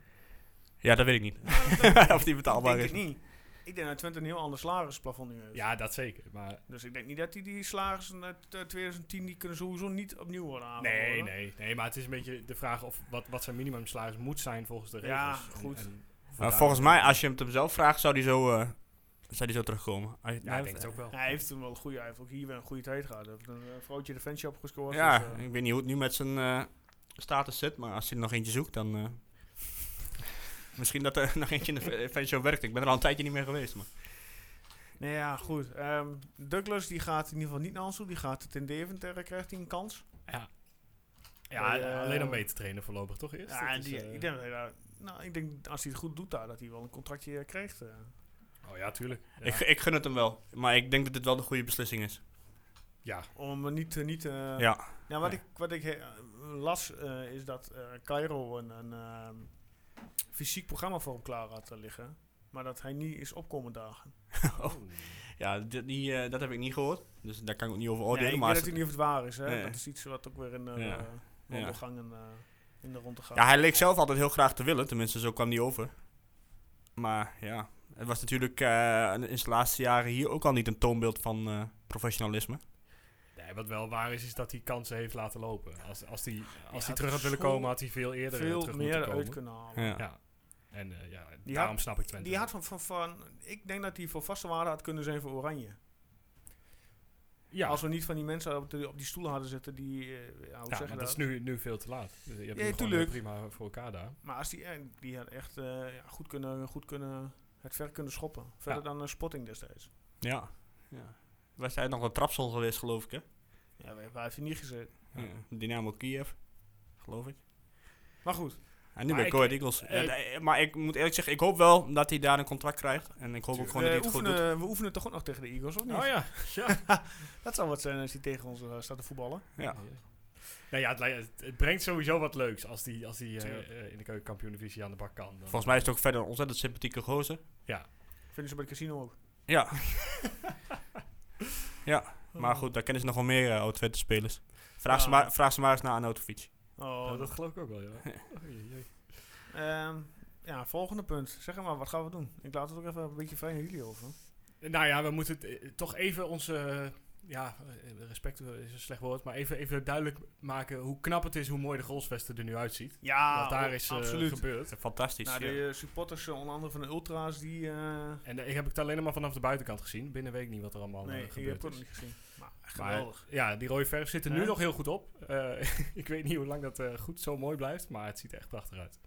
Speaker 3: Ja, dat weet ik niet. of die betaalbaar
Speaker 1: ik
Speaker 3: is.
Speaker 1: denk het niet. Ik denk dat Twente een heel ander salarisplafond nu heeft.
Speaker 2: Ja, dat zeker. Maar
Speaker 1: Dus ik denk niet dat die, die salarissen uit eh, 2010, die kunnen sowieso niet opnieuw worden aangeboden.
Speaker 2: nee, nee, nee. Maar het is een beetje de vraag of wat, wat zijn minimumsalaris moet zijn volgens de regels.
Speaker 1: Ja,
Speaker 2: En-
Speaker 1: goed.
Speaker 2: en
Speaker 3: Maar
Speaker 2: vandaar-
Speaker 3: volgens mij, als je hem het hem zelf vraagt, zou die zo, eh, zou die zo terugkomen. Als je-
Speaker 2: Ja, ik denk het ook wel.
Speaker 1: Hij heeft toen wel een goede, hij heeft ook hier weer een goede tijd gehad. Hij heeft een eh, vrouwtje de fanshop gescoord.
Speaker 3: Ja,
Speaker 1: dus, eh,
Speaker 3: ik weet niet hoe het nu met zijn eh, status zit, maar als hij er nog eentje zoekt, dan... eh, misschien dat er nog eentje in de fanshow werkt. Ik ben er al een tijdje niet meer geweest, maar...
Speaker 1: nee, Nou ja, goed. Ehm, Douglas die gaat in ieder geval niet naar ons toe. Die gaat het in Deventer, eh, krijgt hij een kans.
Speaker 2: Ja,
Speaker 1: Eh,
Speaker 2: alleen om mee te trainen voorlopig, toch? Eerst?
Speaker 1: Ja,
Speaker 2: Dat
Speaker 1: en
Speaker 2: is,
Speaker 1: die,
Speaker 2: eh,
Speaker 1: ik, denk dat hij daar- nou, ik denk als hij het goed doet daar, dat hij wel een contractje eh, krijgt. eh.
Speaker 2: Oh ja, tuurlijk. Ja,
Speaker 3: Ik, ik gun het hem wel. Maar ik denk dat dit wel de goede beslissing is.
Speaker 2: ja.
Speaker 1: om hem niet, eh, niet eh,
Speaker 3: ja.
Speaker 1: Nou, wat
Speaker 2: Ja.
Speaker 1: ik, wat ik eh, las eh, is dat eh, Cairo een, een ehm, fysiek programma voor hem klaar had eh, liggen. Maar dat hij niet is opkomen dagen.
Speaker 3: Oh. Ja, dit- die, eh, dat heb ik niet gehoord. Dus daar kan ik ook niet over oordelen.
Speaker 1: Nee, ik
Speaker 3: maar
Speaker 1: weet
Speaker 3: als-
Speaker 1: natuurlijk niet of het waar is. Hè?
Speaker 3: Nee.
Speaker 1: Dat is iets wat ook weer in de
Speaker 3: Ja.
Speaker 1: eh, wandelgangen eh, in de ronde gaat.
Speaker 3: ja, hij leek zelf altijd heel graag te willen. Tenminste, zo kwam hij over. Maar ja, het was natuurlijk eh, in de laatste jaren hier ook al niet een toonbeeld van eh, professionalisme.
Speaker 2: Nee, wat wel waar is, is dat hij kansen heeft laten lopen. Als, als hij als hij
Speaker 1: had
Speaker 2: terug had willen
Speaker 1: zo
Speaker 2: komen, had hij veel eerder eh,
Speaker 1: Veel
Speaker 2: terug
Speaker 1: meer
Speaker 2: moeten
Speaker 1: uit
Speaker 2: komen.
Speaker 1: kunnen halen.
Speaker 3: Ja.
Speaker 2: Ja. En eh, ja,
Speaker 1: Die
Speaker 2: daarom
Speaker 1: had-
Speaker 2: snap ik Twente.
Speaker 1: Die had van, van, van, ik denk dat hij voor vaste waarde had kunnen zijn voor Oranje.
Speaker 2: ja,
Speaker 1: Als we niet van die mensen op, de, op die stoelen hadden zitten die... eh, ja, hoe
Speaker 2: ja,
Speaker 1: zeg je
Speaker 2: maar
Speaker 1: dat?
Speaker 2: dat is nu, nu veel te laat. Je hebt nu gewoon,
Speaker 1: tuurlijk.
Speaker 2: eh, prima voor elkaar daar.
Speaker 1: Maar als die, eh, die had echt eh, ja, goed, kunnen, goed kunnen... Het ver kunnen schoppen. Verder dan eh, Spotting destijds.
Speaker 3: Ja. ja. Was hij nog een trapsel geweest, geloof ik, hè?
Speaker 1: Ja, waar- waar heeft hij niet gezeten?
Speaker 3: Ja. Dynamo Kiev, geloof ik.
Speaker 1: Maar goed,
Speaker 3: En nu
Speaker 2: Maar
Speaker 3: bij
Speaker 2: ik-
Speaker 3: Goed Eagles.
Speaker 2: eh,
Speaker 3: Ja, d- maar ik moet eerlijk zeggen, ik hoop wel dat hij daar een contract krijgt. En ik hoop ook gewoon dat
Speaker 1: we,
Speaker 3: hij het goed doet.
Speaker 1: eh, oefenen, we oefenen toch ook nog tegen de Eagles, of niet?
Speaker 2: Oh ja.
Speaker 1: Dat zou wat zijn als hij tegen ons eh, staat te voetballen.
Speaker 3: Ja.
Speaker 2: Nou ja, het, lij- het, het brengt sowieso wat leuks als die, als die eh,
Speaker 1: Tuurlijk.
Speaker 2: eh, in de keukenkampioen-divisie aan de bak kan. Dan-
Speaker 3: Volgens mij is het ook verder een ontzettend sympathieke gozer.
Speaker 1: Vinden ze bij het casino ook.
Speaker 3: Ja. ja, maar goed, daar kennen ze nog wel meer uh, spelers. Vraag, ze
Speaker 1: Ja.
Speaker 3: maar, vraag ze maar eens naar Anautovic.
Speaker 1: Oh,
Speaker 2: Oh, dat geloof ik ook wel, ja. Oei, oei.
Speaker 1: Ehm, ja, volgende punt. Zeg maar, wat gaan we doen? Ik laat het ook even een beetje vrij aan jullie over.
Speaker 2: Nou ja, we moeten het, eh, toch even onze. eh, ja, eh, respect is een slecht woord. Maar even, even duidelijk maken hoe knap het is hoe mooi de goalsvesten er nu uitziet.
Speaker 1: Ja,
Speaker 2: Wat daar is eh, gebeurd.
Speaker 3: Fantastisch.
Speaker 1: Nou, de
Speaker 3: ja.
Speaker 1: eh, supporters, eh, onder andere van de Ultra's, die... eh
Speaker 2: En eh, ik heb het alleen maar vanaf de buitenkant gezien. Binnen weet ik niet wat er allemaal
Speaker 1: nee,
Speaker 2: nee,
Speaker 1: ik heb
Speaker 2: gebeurd
Speaker 1: het ook
Speaker 2: is.
Speaker 1: nog niet gezien. Maar echt
Speaker 2: Maar,
Speaker 1: geweldig.
Speaker 2: ja, die rode verf zit er nu
Speaker 1: Hè?
Speaker 2: nog heel goed op. Eh, ik weet niet hoe lang dat eh, goed zo mooi blijft, maar het ziet er echt prachtig uit.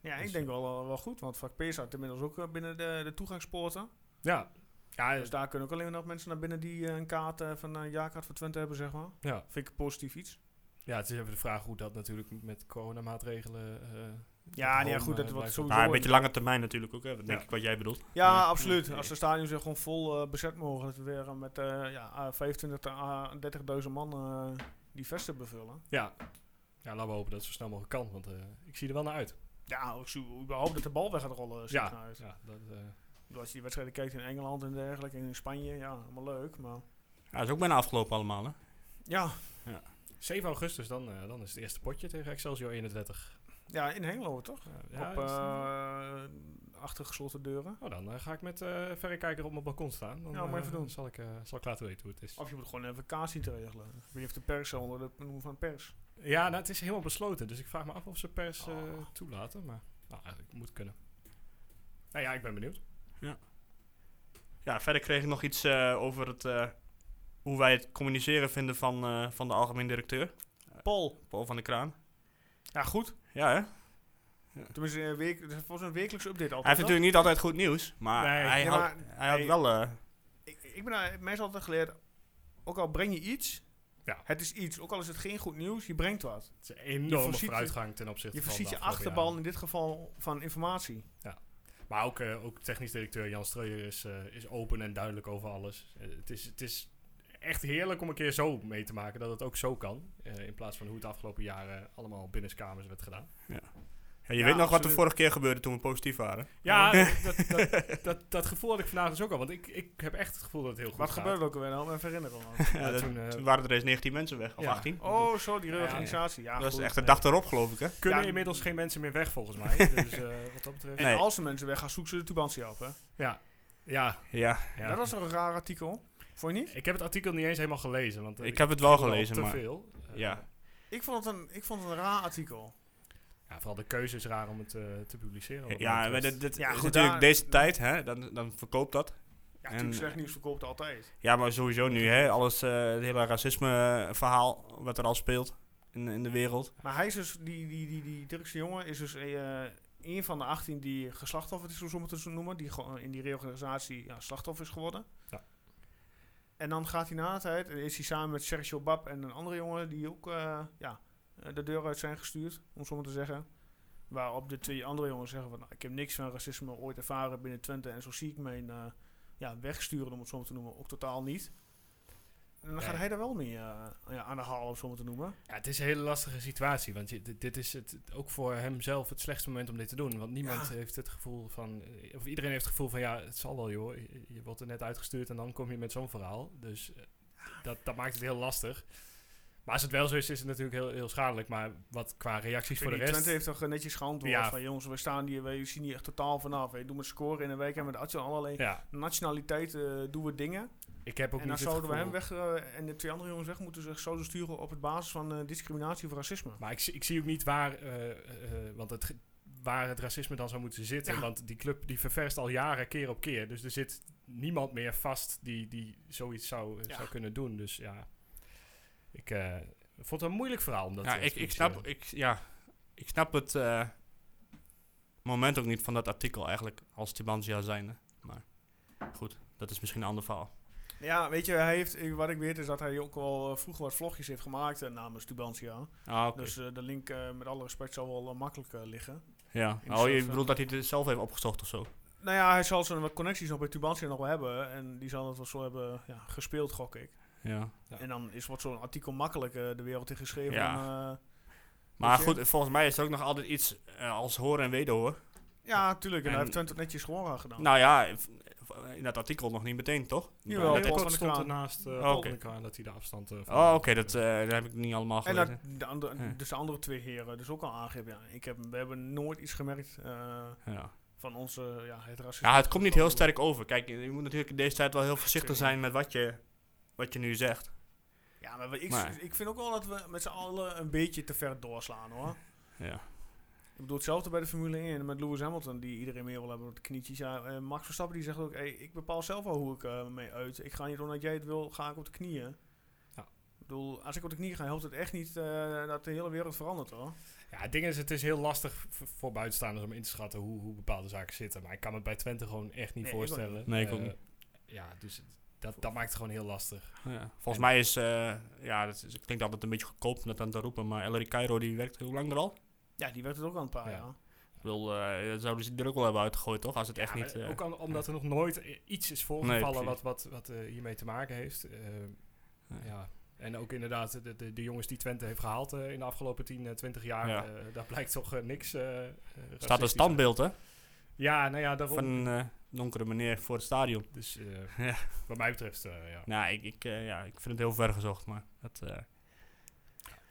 Speaker 1: ja, ik
Speaker 2: dus-
Speaker 1: denk wel, eh, wel- wel goed, want Vak P staat inmiddels ook eh, binnen de, de toegangspoorten.
Speaker 2: Ja, ja, eh,
Speaker 1: Dus daar kunnen ook alleen nog mensen naar binnen die eh, een kaart eh, van een jaarkaart van Twente hebben, zeg maar.
Speaker 2: ja.
Speaker 1: Vind ik positief iets.
Speaker 2: ja, het is even de vraag hoe dat natuurlijk met coronamaatregelen... eh
Speaker 1: Ja, nee, ja,
Speaker 2: gewoon,
Speaker 1: goed,
Speaker 2: eh,
Speaker 1: dat wordt
Speaker 2: blijft
Speaker 1: sowieso...
Speaker 3: Maar een beetje lange termijn natuurlijk ook, hè, denk
Speaker 2: Ja.
Speaker 3: ik wat jij bedoelt.
Speaker 1: Ja,
Speaker 3: Ja.
Speaker 1: absoluut.
Speaker 3: Ja.
Speaker 1: Als de stadions weer gewoon vol eh, bezet mogen, dat we weer eh, met eh, ja, eh, 25 tot ah, 30.000 man eh, die vesten bevullen.
Speaker 2: Ja. ja, laten we hopen dat het zo snel mogelijk kan, want eh, ik zie er wel naar uit.
Speaker 1: Ja, ik zie überhaupt dat de bal weg gaat rollen. ziet er
Speaker 2: Ja,
Speaker 1: naar uit.
Speaker 2: ja dat, eh,
Speaker 1: Ik bedoel, Als je die wedstrijden kijkt in Engeland en dergelijke, en in Spanje, ja, allemaal leuk. Maar
Speaker 3: Ja, dat is ook bijna afgelopen allemaal, hè.
Speaker 1: ja,
Speaker 2: 7 augustus, dan, eh, dan is het eerste potje tegen Excelsior 31.
Speaker 1: ja in Hengelo toch?
Speaker 2: Ja, ja,
Speaker 1: Op
Speaker 2: is-
Speaker 1: eh, achter gesloten deuren.
Speaker 2: nou, dan eh, ga ik met eh verrekijker op mijn balkon staan. Dan,
Speaker 1: Ja, maar
Speaker 2: eh,
Speaker 1: even doen.
Speaker 2: Zal ik, eh, zal ik laten weten hoe het is.
Speaker 1: Of je moet gewoon even kaas zien te regelen. Wie heeft de pers onder de noemen van pers?
Speaker 2: Ja, nou, het is helemaal besloten. Dus ik vraag me af of ze pers eh,
Speaker 1: Oh.
Speaker 2: toelaten. Maar nou, eigenlijk moet kunnen. Nou ja, ik ben benieuwd.
Speaker 3: Ja, verder kreeg ik nog iets eh, over het, eh, hoe wij het communiceren vinden van, eh, van de algemeen directeur.
Speaker 1: Paul.
Speaker 3: Paul van de Kraan.
Speaker 1: Ja, goed.
Speaker 3: Ja, hè.
Speaker 1: Tenminste, eh, week, dat is volgens een wekelijkse update
Speaker 3: Hij
Speaker 1: altijd.
Speaker 3: heeft natuurlijk niet altijd goed nieuws, maar
Speaker 2: Nee.
Speaker 3: hij,
Speaker 1: Ja,
Speaker 3: had,
Speaker 1: maar
Speaker 3: hij had
Speaker 1: hij-
Speaker 3: wel... eh,
Speaker 1: Ik, ik ben daar- mij is altijd geleerd, ook al breng je iets,
Speaker 2: Ja.
Speaker 1: het is iets. Ook al is het geen goed nieuws, je brengt wat.
Speaker 2: Het is een
Speaker 1: Je
Speaker 2: enorme
Speaker 1: voorziet je-
Speaker 2: vooruitgang ten opzichte
Speaker 1: Je
Speaker 2: van
Speaker 1: voorziet
Speaker 2: de
Speaker 1: je
Speaker 2: afgelopen
Speaker 1: achterban
Speaker 2: jaren.
Speaker 1: in dit geval van informatie.
Speaker 2: Maar ook, eh, ook technisch directeur Jan Streuer is, eh, is open en duidelijk over alles. Eh, het, is, het is echt heerlijk om een keer zo mee te maken. Dat het ook zo kan. eh, in plaats van hoe het de afgelopen jaren allemaal binnenskamers werd gedaan.
Speaker 3: Ja, je
Speaker 1: Ja,
Speaker 3: weet nog wat er
Speaker 1: absoluut.
Speaker 3: vorige keer gebeurde toen we positief waren.
Speaker 2: Ja, dat, dat, dat, dat gevoel had ik vandaag dus ook al. Want ik, ik heb echt het gevoel dat het heel goed
Speaker 1: Wat
Speaker 2: gaat.
Speaker 1: gebeurde er ook alweer? nou? Help me even herinneren. man.
Speaker 3: Ja,
Speaker 2: Ja,
Speaker 3: dat-
Speaker 2: toen, eh,
Speaker 3: toen waren er eens 19 mensen weg, of
Speaker 2: ja.
Speaker 3: 18.
Speaker 1: Oh, zo, die
Speaker 2: Ja, ja.
Speaker 1: reorganisatie. Ja,
Speaker 3: dat was
Speaker 1: goed.
Speaker 3: echt de dag erop, geloof ik, hè?
Speaker 2: kunnen
Speaker 1: Ja,
Speaker 2: inmiddels geen mensen meer weg volgens mij. Dus eh, wat dat betreft.
Speaker 1: En
Speaker 3: Nee.
Speaker 1: als er mensen weggaan, zoeken ze de tubantie op. Hè?
Speaker 2: Ja, ja,
Speaker 3: Ja,
Speaker 2: ja.
Speaker 1: Dat was toch een raar artikel? Vond je niet?
Speaker 2: Ik heb het artikel niet eens helemaal gelezen. Want eh,
Speaker 3: ik heb het wel
Speaker 2: viel al
Speaker 3: gelezen,
Speaker 2: te
Speaker 3: maar...
Speaker 2: veel. Eh,
Speaker 3: ja.
Speaker 1: Ik vond het een, ik vond het een raar artikel.
Speaker 2: ja, Vooral de keuze is raar om het eh, te publiceren. wat mij
Speaker 3: Ja, maar dit,
Speaker 2: betreft.
Speaker 3: dit
Speaker 1: Ja,
Speaker 3: is
Speaker 1: goed,
Speaker 3: natuurlijk
Speaker 1: daar-
Speaker 3: deze tijd, hè? Dan, dan verkoopt dat.
Speaker 1: Ja,
Speaker 3: En-
Speaker 1: natuurlijk, slecht nieuws verkoopt altijd.
Speaker 3: Ja, maar sowieso nu, hè? Alles, eh, het hele racisme-verhaal wat er al speelt in, in de wereld.
Speaker 1: Maar hij is dus, die, die, die, die Turkse jongen is dus eh, een van de 18 die geslachtofferd is, om het te noemen. Die gewoon in die reorganisatie ja, slachtoffer is geworden.
Speaker 2: Ja.
Speaker 1: En dan gaat hij na de tijd en is hij samen met Sergio Bab en een andere jongen die ook eh, ja, eh, de deur uit zijn gestuurd, om zo maar te zeggen. Waarop de twee andere jongens zeggen van nou, ik heb niks van racisme ooit ervaren binnen Twente en zo zie ik mijn eh, ja, wegsturen, om het zo maar te noemen, ook totaal niet. En dan gaat
Speaker 2: Nee.
Speaker 1: hij daar wel mee eh, ja, aan de haal, om het zo maar te noemen.
Speaker 2: Ja, het is een hele lastige situatie, want je, dit, dit is het, ook voor hemzelf het slechtste moment om dit te doen. Want niemand
Speaker 1: Ja.
Speaker 2: heeft het gevoel van, eh, of iedereen heeft het gevoel van, ja, het zal wel joh, je, je wordt er net uitgestuurd en dan kom je met zo'n verhaal. Dus eh, dat, dat maakt het heel lastig. Maar als het wel zo is, is het natuurlijk heel, heel schadelijk. Maar wat qua reacties voor de
Speaker 1: Die
Speaker 2: rest...
Speaker 1: Twente heeft toch eh, netjes geantwoord
Speaker 2: Ja.
Speaker 1: van jongens, we staan hier, wij zien hier echt totaal vanaf. We doen met scoren in een week en met actie allerlei
Speaker 2: Ja,
Speaker 1: nationaliteiten doen we dingen.
Speaker 2: ik heb ook
Speaker 1: en dan
Speaker 2: niet het
Speaker 1: zouden we hem
Speaker 2: gevoel-
Speaker 1: weg eh, en de twee andere jongens weg moeten ze zouden sturen op het basis van eh, discriminatie of racisme.
Speaker 2: Maar ik, zie- ik zie ook niet waar, eh, eh, want het, ge- waar het racisme dan zou moeten zitten.
Speaker 1: Ja.
Speaker 2: Want die club die ververst al jaren keer op keer. Dus er zit niemand meer vast die, die zoiets zou, eh,
Speaker 1: Ja.
Speaker 2: zou kunnen doen. Dus ja, ik eh, vond het een moeilijk verhaal. Omdat
Speaker 3: ja, ik, ik, snap,
Speaker 1: eh.
Speaker 3: ik, ja, ik snap het eh, moment ook niet van dat artikel eigenlijk, als Tibantia zijnde. Maar goed, dat is misschien een ander verhaal.
Speaker 1: Ja, weet je, hij heeft, eh, wat ik weet is dat hij ook wel eh, vroeger wat vlogjes heeft gemaakt eh, namens Tubantia.
Speaker 3: Ah, oké.
Speaker 1: Dus eh, de link eh, met alle respect zal wel eh, makkelijk eh, liggen.
Speaker 3: ja.
Speaker 1: in
Speaker 3: Oh, je
Speaker 1: soort,
Speaker 3: bedoelt dat hij het zelf heeft opgezocht of zo?
Speaker 1: Nou ja, hij zal zijn wat connecties nog bij Tubantia nog wel hebben. En die zal het wel zo hebben ja, gespeeld, gok ik.
Speaker 3: Ja.
Speaker 1: En dan is wordt zo'n artikel makkelijk eh, de wereld in geschreven. eh,
Speaker 3: Ja.
Speaker 1: Ja.
Speaker 3: Maar
Speaker 1: Weet je?
Speaker 3: goed, volgens mij is er ook nog altijd iets eh, als horen en wederhoor.
Speaker 1: ja, tuurlijk. En, hij
Speaker 3: En-
Speaker 1: heeft Twente netjes gewoon gedaan.
Speaker 3: Nou ja, v- v- in dat artikel nog niet meteen, toch?
Speaker 1: Jawel,
Speaker 3: Dat-
Speaker 1: Paul
Speaker 2: Kort
Speaker 1: van de
Speaker 2: stond
Speaker 1: Kraan.
Speaker 2: ernaast eh
Speaker 3: Oh,
Speaker 2: Paul
Speaker 3: oké.
Speaker 2: van de Kraan dat hij de afstand... eh, van
Speaker 3: oh, oké,
Speaker 2: had.
Speaker 3: dat, eh, dat heb ik niet allemaal
Speaker 1: en
Speaker 3: gelezen.
Speaker 1: dat de andere,
Speaker 3: Ja.
Speaker 1: dus de andere twee heren dus ook al aangeven. Ja, ik heb, we hebben nooit iets gemerkt eh,
Speaker 3: ja.
Speaker 1: van onze ja, het racisme.
Speaker 3: ja, het komt niet heel sterk over. Kijk, je je moet natuurlijk in deze tijd wel heel voorzichtig
Speaker 1: tuurlijk.
Speaker 3: zijn met wat je, wat je nu zegt.
Speaker 1: Ja, maar ik,
Speaker 3: Maar-
Speaker 1: ik vind ook wel dat we met z'n allen een beetje te ver doorslaan hoor.
Speaker 3: Ja.
Speaker 1: Ik bedoel, hetzelfde bij de Formule 1 met Lewis Hamilton, die iedereen meer wil hebben op de knietjes. Ja, eh, Max Verstappen die zegt ook, hey, ik bepaal zelf al hoe ik eh, mee uit. Ik ga niet omdat jij het wil, ga ik op de knieën.
Speaker 2: Ja.
Speaker 1: Ik bedoel, als ik op de knieën ga, helpt het echt niet eh, dat de hele wereld verandert hoor.
Speaker 2: Ja, het ding is, het is heel lastig v- voor buitenstaanders om in te schatten hoe, hoe bepaalde zaken zitten. Maar ik kan me bij Twente gewoon echt niet
Speaker 1: Nee, ik ook
Speaker 2: voorstellen.
Speaker 3: niet. Nee, ik ook
Speaker 2: Eh,
Speaker 3: niet.
Speaker 2: Ja, dus het- dat, dat maakt het gewoon heel lastig.
Speaker 3: Volgens mij is, eh, ja, dat is- het klinkt altijd een beetje goedkoop om dat dan te roepen, maar Ellery Cairo die werkt hoe lang er al?
Speaker 1: Ja, die werd het ook aan een paar
Speaker 2: Ja.
Speaker 1: jaar.
Speaker 3: Ik bedoel, eh, dat zouden ze er ook wel hebben uitgegooid, toch? Als het echt
Speaker 2: Ja,
Speaker 3: niet...
Speaker 2: maar
Speaker 3: eh,
Speaker 2: ook al- omdat er nog nooit i- iets is voorgevallen
Speaker 3: Nee,
Speaker 2: wat, wat, wat eh, hiermee te maken heeft. Eh,
Speaker 3: Nee.
Speaker 2: ja. En ook inderdaad, de, de, de jongens die Twente heeft gehaald eh, in de afgelopen 10, eh, 20 jaar,
Speaker 3: Ja.
Speaker 2: eh, daar blijkt toch eh, niks. eh, eh,
Speaker 3: staat een
Speaker 2: racistisch
Speaker 3: standbeeld, hè?
Speaker 2: uit. Ja, nou ja, daarom.
Speaker 3: Van een eh, donkere meneer voor het stadion.
Speaker 2: Dus eh,
Speaker 3: Ja.
Speaker 2: wat mij betreft, eh, ja.
Speaker 3: Nou, ik, ik, eh, ja, ik vind het heel ver gezocht, maar dat... eh,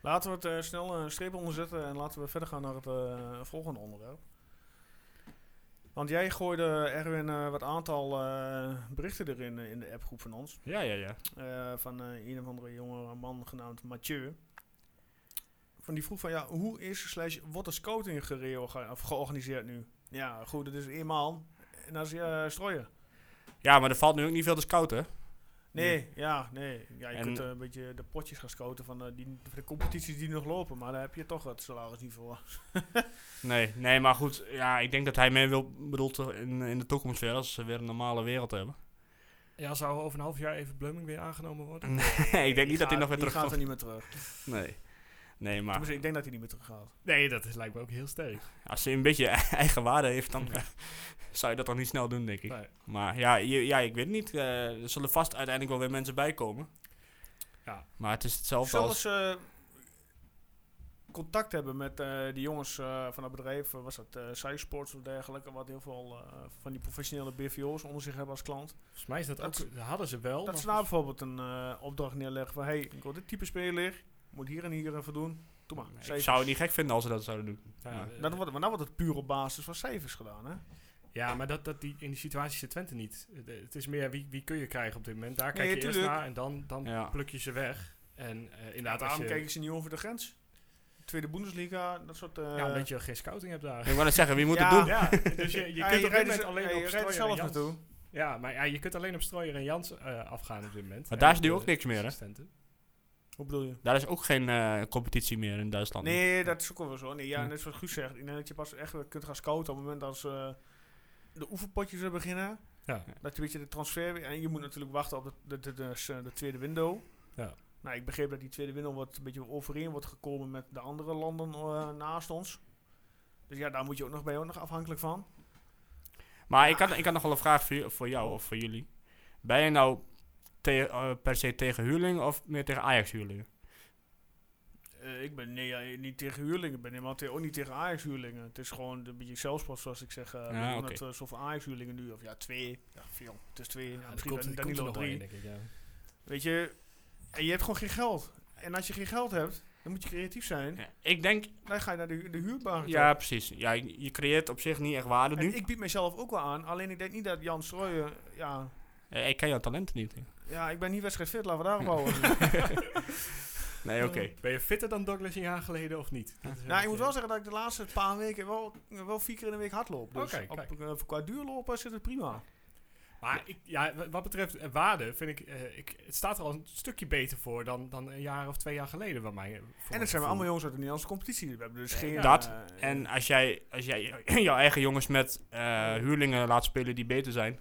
Speaker 1: Laten we het eh, snel een streep onderzetten en laten we verder gaan naar het eh, volgende onderwerp. Want jij gooide, Erwin, eh, wat aantal eh, berichten erin eh, in de appgroep van ons.
Speaker 3: ja, ja, ja.
Speaker 1: Eh, van eh, een of andere jonge man genaamd Mathieu. Van die vroeg van, ja, hoe is slash wordt de scouting gereorga- of georganiseerd nu? Ja, goed, dat is eenmaal. En dan is eh, je strooien.
Speaker 3: Ja, maar er valt nu ook niet veel te scouten, hè?
Speaker 1: Nee, ja, nee. Ja, je
Speaker 3: En-
Speaker 1: kunt eh, een beetje de potjes gaan scouten van eh, die, van de competities die nog lopen. Maar daar heb je toch het salaris niet voor.
Speaker 3: Nee, nee, maar goed, ja, ik denk dat hij mee wil bedoelt in, in de toekomst weer, als ze weer een normale wereld hebben.
Speaker 2: Ja, zou over een half jaar even Bleuming weer aangenomen worden?
Speaker 3: Nee, ik denk niet dat hij nog weer Ah.
Speaker 1: terug gaat
Speaker 3: terugkomt.
Speaker 1: er niet meer terug.
Speaker 3: Nee. Nee, maar
Speaker 1: Tenminste, ik denk dat hij niet meer terug gaat.
Speaker 2: Nee, dat is, lijkt me ook heel sterk.
Speaker 3: als hij een beetje eigen waarde heeft, dan eh, zou je dat dan niet snel doen, denk ik.
Speaker 2: Nee.
Speaker 3: Maar ja, je- ja ik weet het niet. eh, er zullen vast uiteindelijk wel weer mensen bij komen.
Speaker 2: Ja.
Speaker 3: Maar het is hetzelfde
Speaker 1: Zelfs
Speaker 3: als...
Speaker 1: eh contact hebben met eh die jongens eh, van het bedrijf, eh, was dat eh Cysports of dergelijke, wat heel veel eh, van die professionele BVO's onder zich hebben als klant.
Speaker 2: Volgens mij is dat,
Speaker 1: Dat-
Speaker 2: ook... Hadden ze wel.
Speaker 1: Dat
Speaker 2: maar
Speaker 1: ze daar bijvoorbeeld een eh, opdracht neerleggen van, hey, ik wil dit type speler, moet hier en hier even doen. Doe maar.
Speaker 3: Ik
Speaker 1: cijfers.
Speaker 3: zou het niet gek vinden als ze dat zouden doen.
Speaker 2: volgens- ja, eh,
Speaker 1: Dan wordt, maar dan wordt het puur op basis van cijfers gedaan, hè?
Speaker 2: Ja, maar dat, dat die, in die situatie zit Twente niet. Eh, de- Het is meer wie, wie kun je krijgen op dit moment. Daar kijk
Speaker 1: Nee,
Speaker 2: je eerst
Speaker 1: tuurlijk.
Speaker 2: naar en dan, dan
Speaker 3: Ja.
Speaker 2: pluk je ze weg. En eh inderdaad, als
Speaker 1: Daarom
Speaker 2: je,
Speaker 1: kijken ze niet over de grens. Tweede Bundesliga, dat soort... eh,
Speaker 2: ja, omdat je geen scouting hebt daar.
Speaker 3: Ik wou net zeggen, wie moet
Speaker 1: Ja.
Speaker 3: het doen?
Speaker 2: ja, dus je, je
Speaker 1: Ja,
Speaker 2: kunt op dit
Speaker 1: rijdt
Speaker 2: moment
Speaker 1: er-
Speaker 2: alleen
Speaker 1: ja,
Speaker 2: op
Speaker 1: je rijdt er
Speaker 2: Strooier
Speaker 1: zelf
Speaker 2: en Jans.
Speaker 1: naartoe.
Speaker 2: Ja, maar ja, je kunt alleen op Strooier en Jans eh, afgaan op dit moment.
Speaker 3: Maar
Speaker 2: En
Speaker 3: daar
Speaker 2: op
Speaker 3: is nu
Speaker 2: de
Speaker 3: ook niks meer, hè?
Speaker 2: assistenten.
Speaker 1: Hoe bedoel je?
Speaker 3: Daar is ook geen eh, competitie meer in Duitsland.
Speaker 1: Nee, dat is ook wel weer zo. Nee, ja,
Speaker 3: Ja.
Speaker 1: net zoals Guus zegt. Ik denk dat je pas echt weer kunt gaan scouten op het moment als eh, de oefenpotjes er beginnen.
Speaker 2: Ja.
Speaker 1: Dat je een beetje de transfer... En je moet natuurlijk wachten op de, de, de, de, de, tweede window.
Speaker 2: Ja.
Speaker 1: Nou, ik begreep dat die tweede window wat een beetje overeen wordt gekomen met de andere landen eh, naast ons. Dus ja, daar moet je ook nog bij ook nog afhankelijk van.
Speaker 3: Maar ik had, ik had nog wel een vraag voor, ju- voor jou of voor jullie. Ben je nou te- eh, per se tegen huurlingen of meer tegen Ajax-huurlingen?
Speaker 1: Eh, ik ben nee, ja, niet tegen huurlingen. Ik ben helemaal te- ook niet tegen Ajax-huurlingen. Het is gewoon een beetje zelfspot, zoals ik zeg. eh
Speaker 3: Ja,
Speaker 1: met-
Speaker 3: oké.
Speaker 1: Met eh, zoveel Ajax-huurlingen nu. Of ja, twee. Ja, veel. Het is twee. Ja,
Speaker 2: Ja, er
Speaker 1: misschien
Speaker 2: komt,
Speaker 1: dan
Speaker 2: er komt er
Speaker 1: Danilo
Speaker 2: nog wel
Speaker 1: drie.
Speaker 2: een, denk ik, ja.
Speaker 1: Weet je, en je hebt gewoon geen geld. En als je geen geld hebt, dan moet je creatief zijn.
Speaker 3: Ja, ik denk,
Speaker 1: Dan ga je naar de, de huurbaar.
Speaker 3: ja precies. Ja, je je creëert op zich niet echt waarde nu.
Speaker 1: en
Speaker 3: Ik,
Speaker 1: ik bied mezelf ook wel aan. Alleen ik denk niet dat Jan Strooijen... Ja,
Speaker 3: Eh, ik ken jouw talenten niet.
Speaker 1: ja, ik ben niet wedstrijdfit. Laten we daarop houden.
Speaker 3: Nee, oké.
Speaker 2: Ben je fitter dan Douglas een jaar geleden of niet? Dat
Speaker 1: nou,
Speaker 2: is
Speaker 1: ik
Speaker 2: een
Speaker 1: moet
Speaker 2: beetje-
Speaker 1: wel zeggen dat ik de laatste paar weken wel, wel vier keer in de week hardloop. Dus
Speaker 2: Oké,
Speaker 1: op,
Speaker 2: kijk.
Speaker 1: eh, qua duurlopen zit het prima.
Speaker 2: Maar ik, ja, wa- wat betreft eh, waarde, vind ik, eh, ik, het staat er al een stukje beter voor dan, dan een jaar of twee jaar geleden. Bij mij, eh, voor
Speaker 1: En
Speaker 2: mijn
Speaker 1: het zijn
Speaker 2: gevoel.
Speaker 1: allemaal jongens uit de Nederlandse competitie. We hebben dus geen...
Speaker 3: dat
Speaker 1: eh,
Speaker 3: En als jij, als jij jouw eigen jongens met eh, huurlingen laat spelen die beter zijn,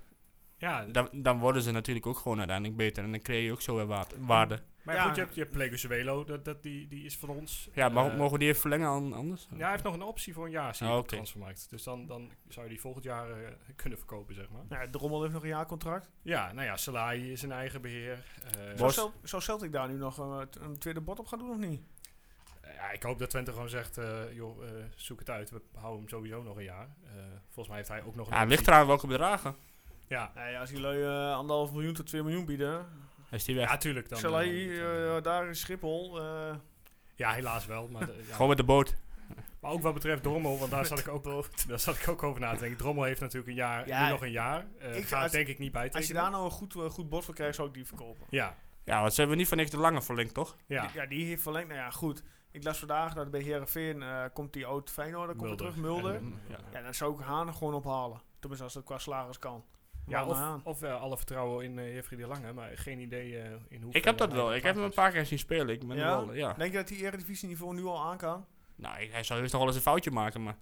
Speaker 2: Ja,
Speaker 3: dan, dan worden ze natuurlijk ook gewoon uiteindelijk beter. En dan creëer je ook zo weer waard- waarde.
Speaker 2: maar
Speaker 1: Ja.
Speaker 2: goed, je hebt, je hebt Plegozuelo, dat, dat, die, die is van ons.
Speaker 3: Ja, maar
Speaker 2: Eh,
Speaker 3: mogen we die even verlengen aan anders?
Speaker 2: Ja, hij heeft nog een optie voor een jaar, zie ik,
Speaker 3: Oh,
Speaker 2: op de
Speaker 3: oké.
Speaker 2: transfermarkt. Dus dan, dan zou je die volgend jaar eh, kunnen verkopen, zeg maar.
Speaker 1: Nou, ja, Drommel heeft nog een jaarcontract.
Speaker 2: Ja, nou ja, Salai is een eigen beheer. Eh,
Speaker 1: Zou,
Speaker 3: Bos.
Speaker 1: Cel- zou Celtic daar nu nog eh, t- een tweede bot op gaan doen of niet?
Speaker 2: Ja, ik hoop dat Twente gewoon zegt, eh, joh, eh, zoek het uit. We houden hem sowieso nog een jaar. Eh, volgens mij heeft hij ook nog een
Speaker 3: Ja, het ligt
Speaker 2: optie.
Speaker 3: eraan welke bedragen.
Speaker 2: Ja,
Speaker 1: Nou ja, als die lui eh, anderhalf miljoen tot 2 miljoen bieden.
Speaker 3: Is die weg?
Speaker 2: ja, tuurlijk. Dan,
Speaker 1: Zal hij
Speaker 2: eh,
Speaker 1: eh, daar in Schiphol. eh,
Speaker 2: ja, helaas wel. Maar, de- ja.
Speaker 3: Gewoon met de boot.
Speaker 2: maar ook wat betreft Drommel, want daar zat, ik ook, daar zat ik ook over na te denken. Drommel heeft natuurlijk een jaar,
Speaker 1: Ja,
Speaker 2: nu nog een jaar. Eh
Speaker 1: ik-
Speaker 2: gaat
Speaker 1: als-
Speaker 2: denk ik niet bij
Speaker 1: als je daar nou een goed, eh, goed bod voor krijgt, zou ik die verkopen.
Speaker 2: Ja,
Speaker 3: Ja, want ze hebben niet van niks de lange verlengd, toch?
Speaker 2: ja.
Speaker 1: Die, ja, die heeft verlengd. Nou ja, goed. Ik las vandaag dat bij Herenveen eh komt die oud Feyenoord, komt weer terug, Mulder.
Speaker 3: Ja.
Speaker 1: Ja, dan zou ik Haan gewoon ophalen. Tenminste, als dat qua salaris kan.
Speaker 2: Ja,
Speaker 1: Waarom Haan?
Speaker 2: of, of eh, alle vertrouwen in eh Jeffrey de Lange, maar geen idee eh, in hoeverre...
Speaker 3: Ik heb dat
Speaker 2: hij
Speaker 3: wel. Ik heb hem een
Speaker 2: was.
Speaker 3: paar keer zien spelen. Ik ben
Speaker 1: Ja?
Speaker 3: wel, ja.
Speaker 1: Denk je dat die Eredivisie-niveau nu al aan kan?
Speaker 3: Nou, ik- hij zou eerst nog wel eens een foutje maken, maar...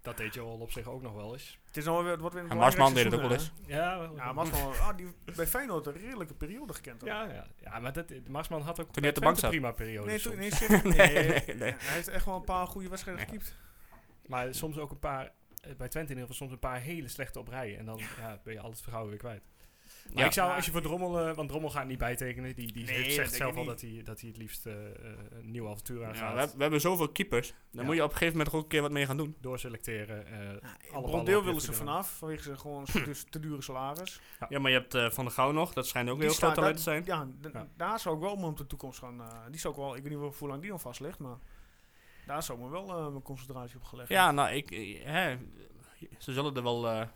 Speaker 2: Dat deed Joel op zich ook nog wel eens.
Speaker 1: Het is nou weer, het wordt weer een
Speaker 3: En Marsman deed
Speaker 1: belangrijk
Speaker 3: het ook wel eens.
Speaker 1: seizoen,
Speaker 2: Ja,
Speaker 1: hè? Ja, Marsman, ah, die heeft bij Feyenoord een redelijke periode gekend. hoor.
Speaker 2: Ja, ja. ja maar dat, Marsman had ook
Speaker 3: Toen
Speaker 2: bij
Speaker 3: hij op de bank
Speaker 2: Twente
Speaker 3: zat.
Speaker 2: prima periode.
Speaker 1: Nee, toen,
Speaker 2: soms.
Speaker 1: nee, serieus, nee,
Speaker 3: Nee, nee.
Speaker 1: Hij heeft echt wel een paar goede wedstrijden
Speaker 3: Nee.
Speaker 1: gekiept.
Speaker 2: Maar soms ook een paar, eh, bij Twente in ieder geval, soms een paar hele slechte op rij. En dan ja, ben je al het vertrouwen weer kwijt. Maar
Speaker 3: Ja.
Speaker 2: ik zou,
Speaker 1: Ja.
Speaker 2: als je voor Drommel, eh, want Drommel gaat niet bijtekenen. Die, die
Speaker 1: Nee,
Speaker 2: heeft-
Speaker 1: dat
Speaker 2: zegt
Speaker 1: denk
Speaker 2: zelf
Speaker 1: ik
Speaker 2: al
Speaker 1: niet.
Speaker 2: dat hij, dat hij het liefst eh, eh, een nieuw avontuur
Speaker 3: Ja,
Speaker 2: aangaat.
Speaker 3: we, heb- we hebben zoveel keepers. Dan
Speaker 2: Ja.
Speaker 3: moet je op een gegeven moment ook een keer wat mee gaan doen.
Speaker 2: doorselecteren. eh
Speaker 1: Ja,
Speaker 2: ballen
Speaker 1: Brondeel
Speaker 2: op
Speaker 1: willen ze
Speaker 2: Jeffrey de
Speaker 1: vanaf, vanwege zijn gewoon dus te dure salaris.
Speaker 3: Ja, maar je hebt eh, Van der Gouw nog. Dat schijnt ook een
Speaker 1: Die
Speaker 3: heel groot
Speaker 1: staat-
Speaker 3: talent te zijn.
Speaker 1: Ja, d-
Speaker 2: Ja.
Speaker 1: daar zou ik wel me op de toekomst gaan. eh, die zou ik wel, ik weet niet wel hoe lang die al vast ligt, maar daar zou me wel eh, mijn concentratie op gelegd
Speaker 3: Ja, nou, ik... eh, Hè, ze zullen er wel eh,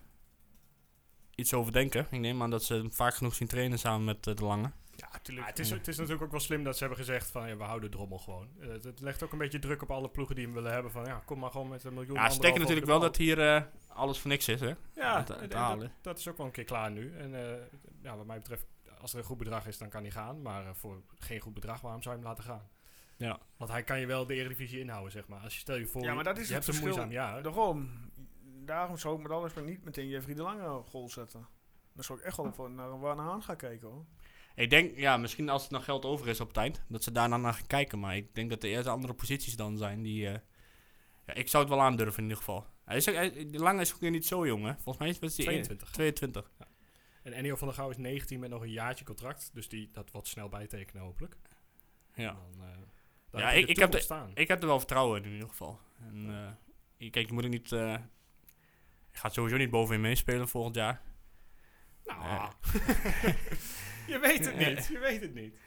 Speaker 3: iets over denken. Ik neem aan dat ze hem vaak genoeg zien trainen samen met eh, De Lange.
Speaker 1: ja
Speaker 2: Ja,
Speaker 1: natuurlijk.
Speaker 2: het, is, het is natuurlijk ook wel slim dat ze hebben gezegd van ja, we houden drommel gewoon. Eh, Het het legt ook een beetje druk op alle ploegen die hem willen hebben van ja, kom maar gewoon met een miljoen.
Speaker 3: Ja, ze denken natuurlijk
Speaker 2: anderhalf over
Speaker 3: wel dat
Speaker 2: de
Speaker 3: hier eh, alles voor niks is, hè?
Speaker 2: bal. ja,
Speaker 3: aan het- aan
Speaker 2: en-
Speaker 3: het
Speaker 2: en dat,
Speaker 3: halen.
Speaker 2: dat is ook wel een keer klaar nu. En eh, ja, wat mij betreft, als er een goed bedrag is, dan kan hij gaan. Maar eh, voor geen goed bedrag, waarom zou je hem laten gaan?
Speaker 3: Ja.
Speaker 2: Want hij kan je wel de Eredivisie inhouden, zeg maar. Als je stel je voor,
Speaker 1: Ja, maar dat is
Speaker 2: je
Speaker 1: het
Speaker 2: hebt een
Speaker 1: verschil.
Speaker 2: moeizaam jaar.
Speaker 1: Daarom, daarom zou ik met alles maar niet meteen Jeffrey de Lange op goal zetten. Dan zou ik echt wel voor naar Warne Haan gaan kijken hoor.
Speaker 3: Ik denk, ja, misschien als het nog geld over is op het eind, dat ze daarna naar gaan kijken. Maar ik denk dat er eerst andere posities dan zijn die... eh, ja, ik zou het wel aandurven in ieder geval. Hij is, ook- hij, de Lange is ook weer niet zo jong, hè? Volgens mij is was hij
Speaker 2: 22.
Speaker 3: 22.
Speaker 2: En En Ennio van der Gouw is 19 met nog een jaartje contract. Dus die dat wat snel bijtekenen hopelijk. En
Speaker 3: Ja.
Speaker 2: Dan, eh, dan
Speaker 3: Ja,
Speaker 2: heb je
Speaker 3: ik-
Speaker 2: de
Speaker 3: ik heb
Speaker 2: toekomst staan.
Speaker 3: Ik heb er wel vertrouwen in, in ieder geval. En, eh, je- kijk, je moet er niet... eh je gaat sowieso niet bovenin meespelen volgend jaar. Eh.
Speaker 2: Nou,
Speaker 3: Ja.
Speaker 2: je weet het niet. Je weet het niet.
Speaker 3: Eh.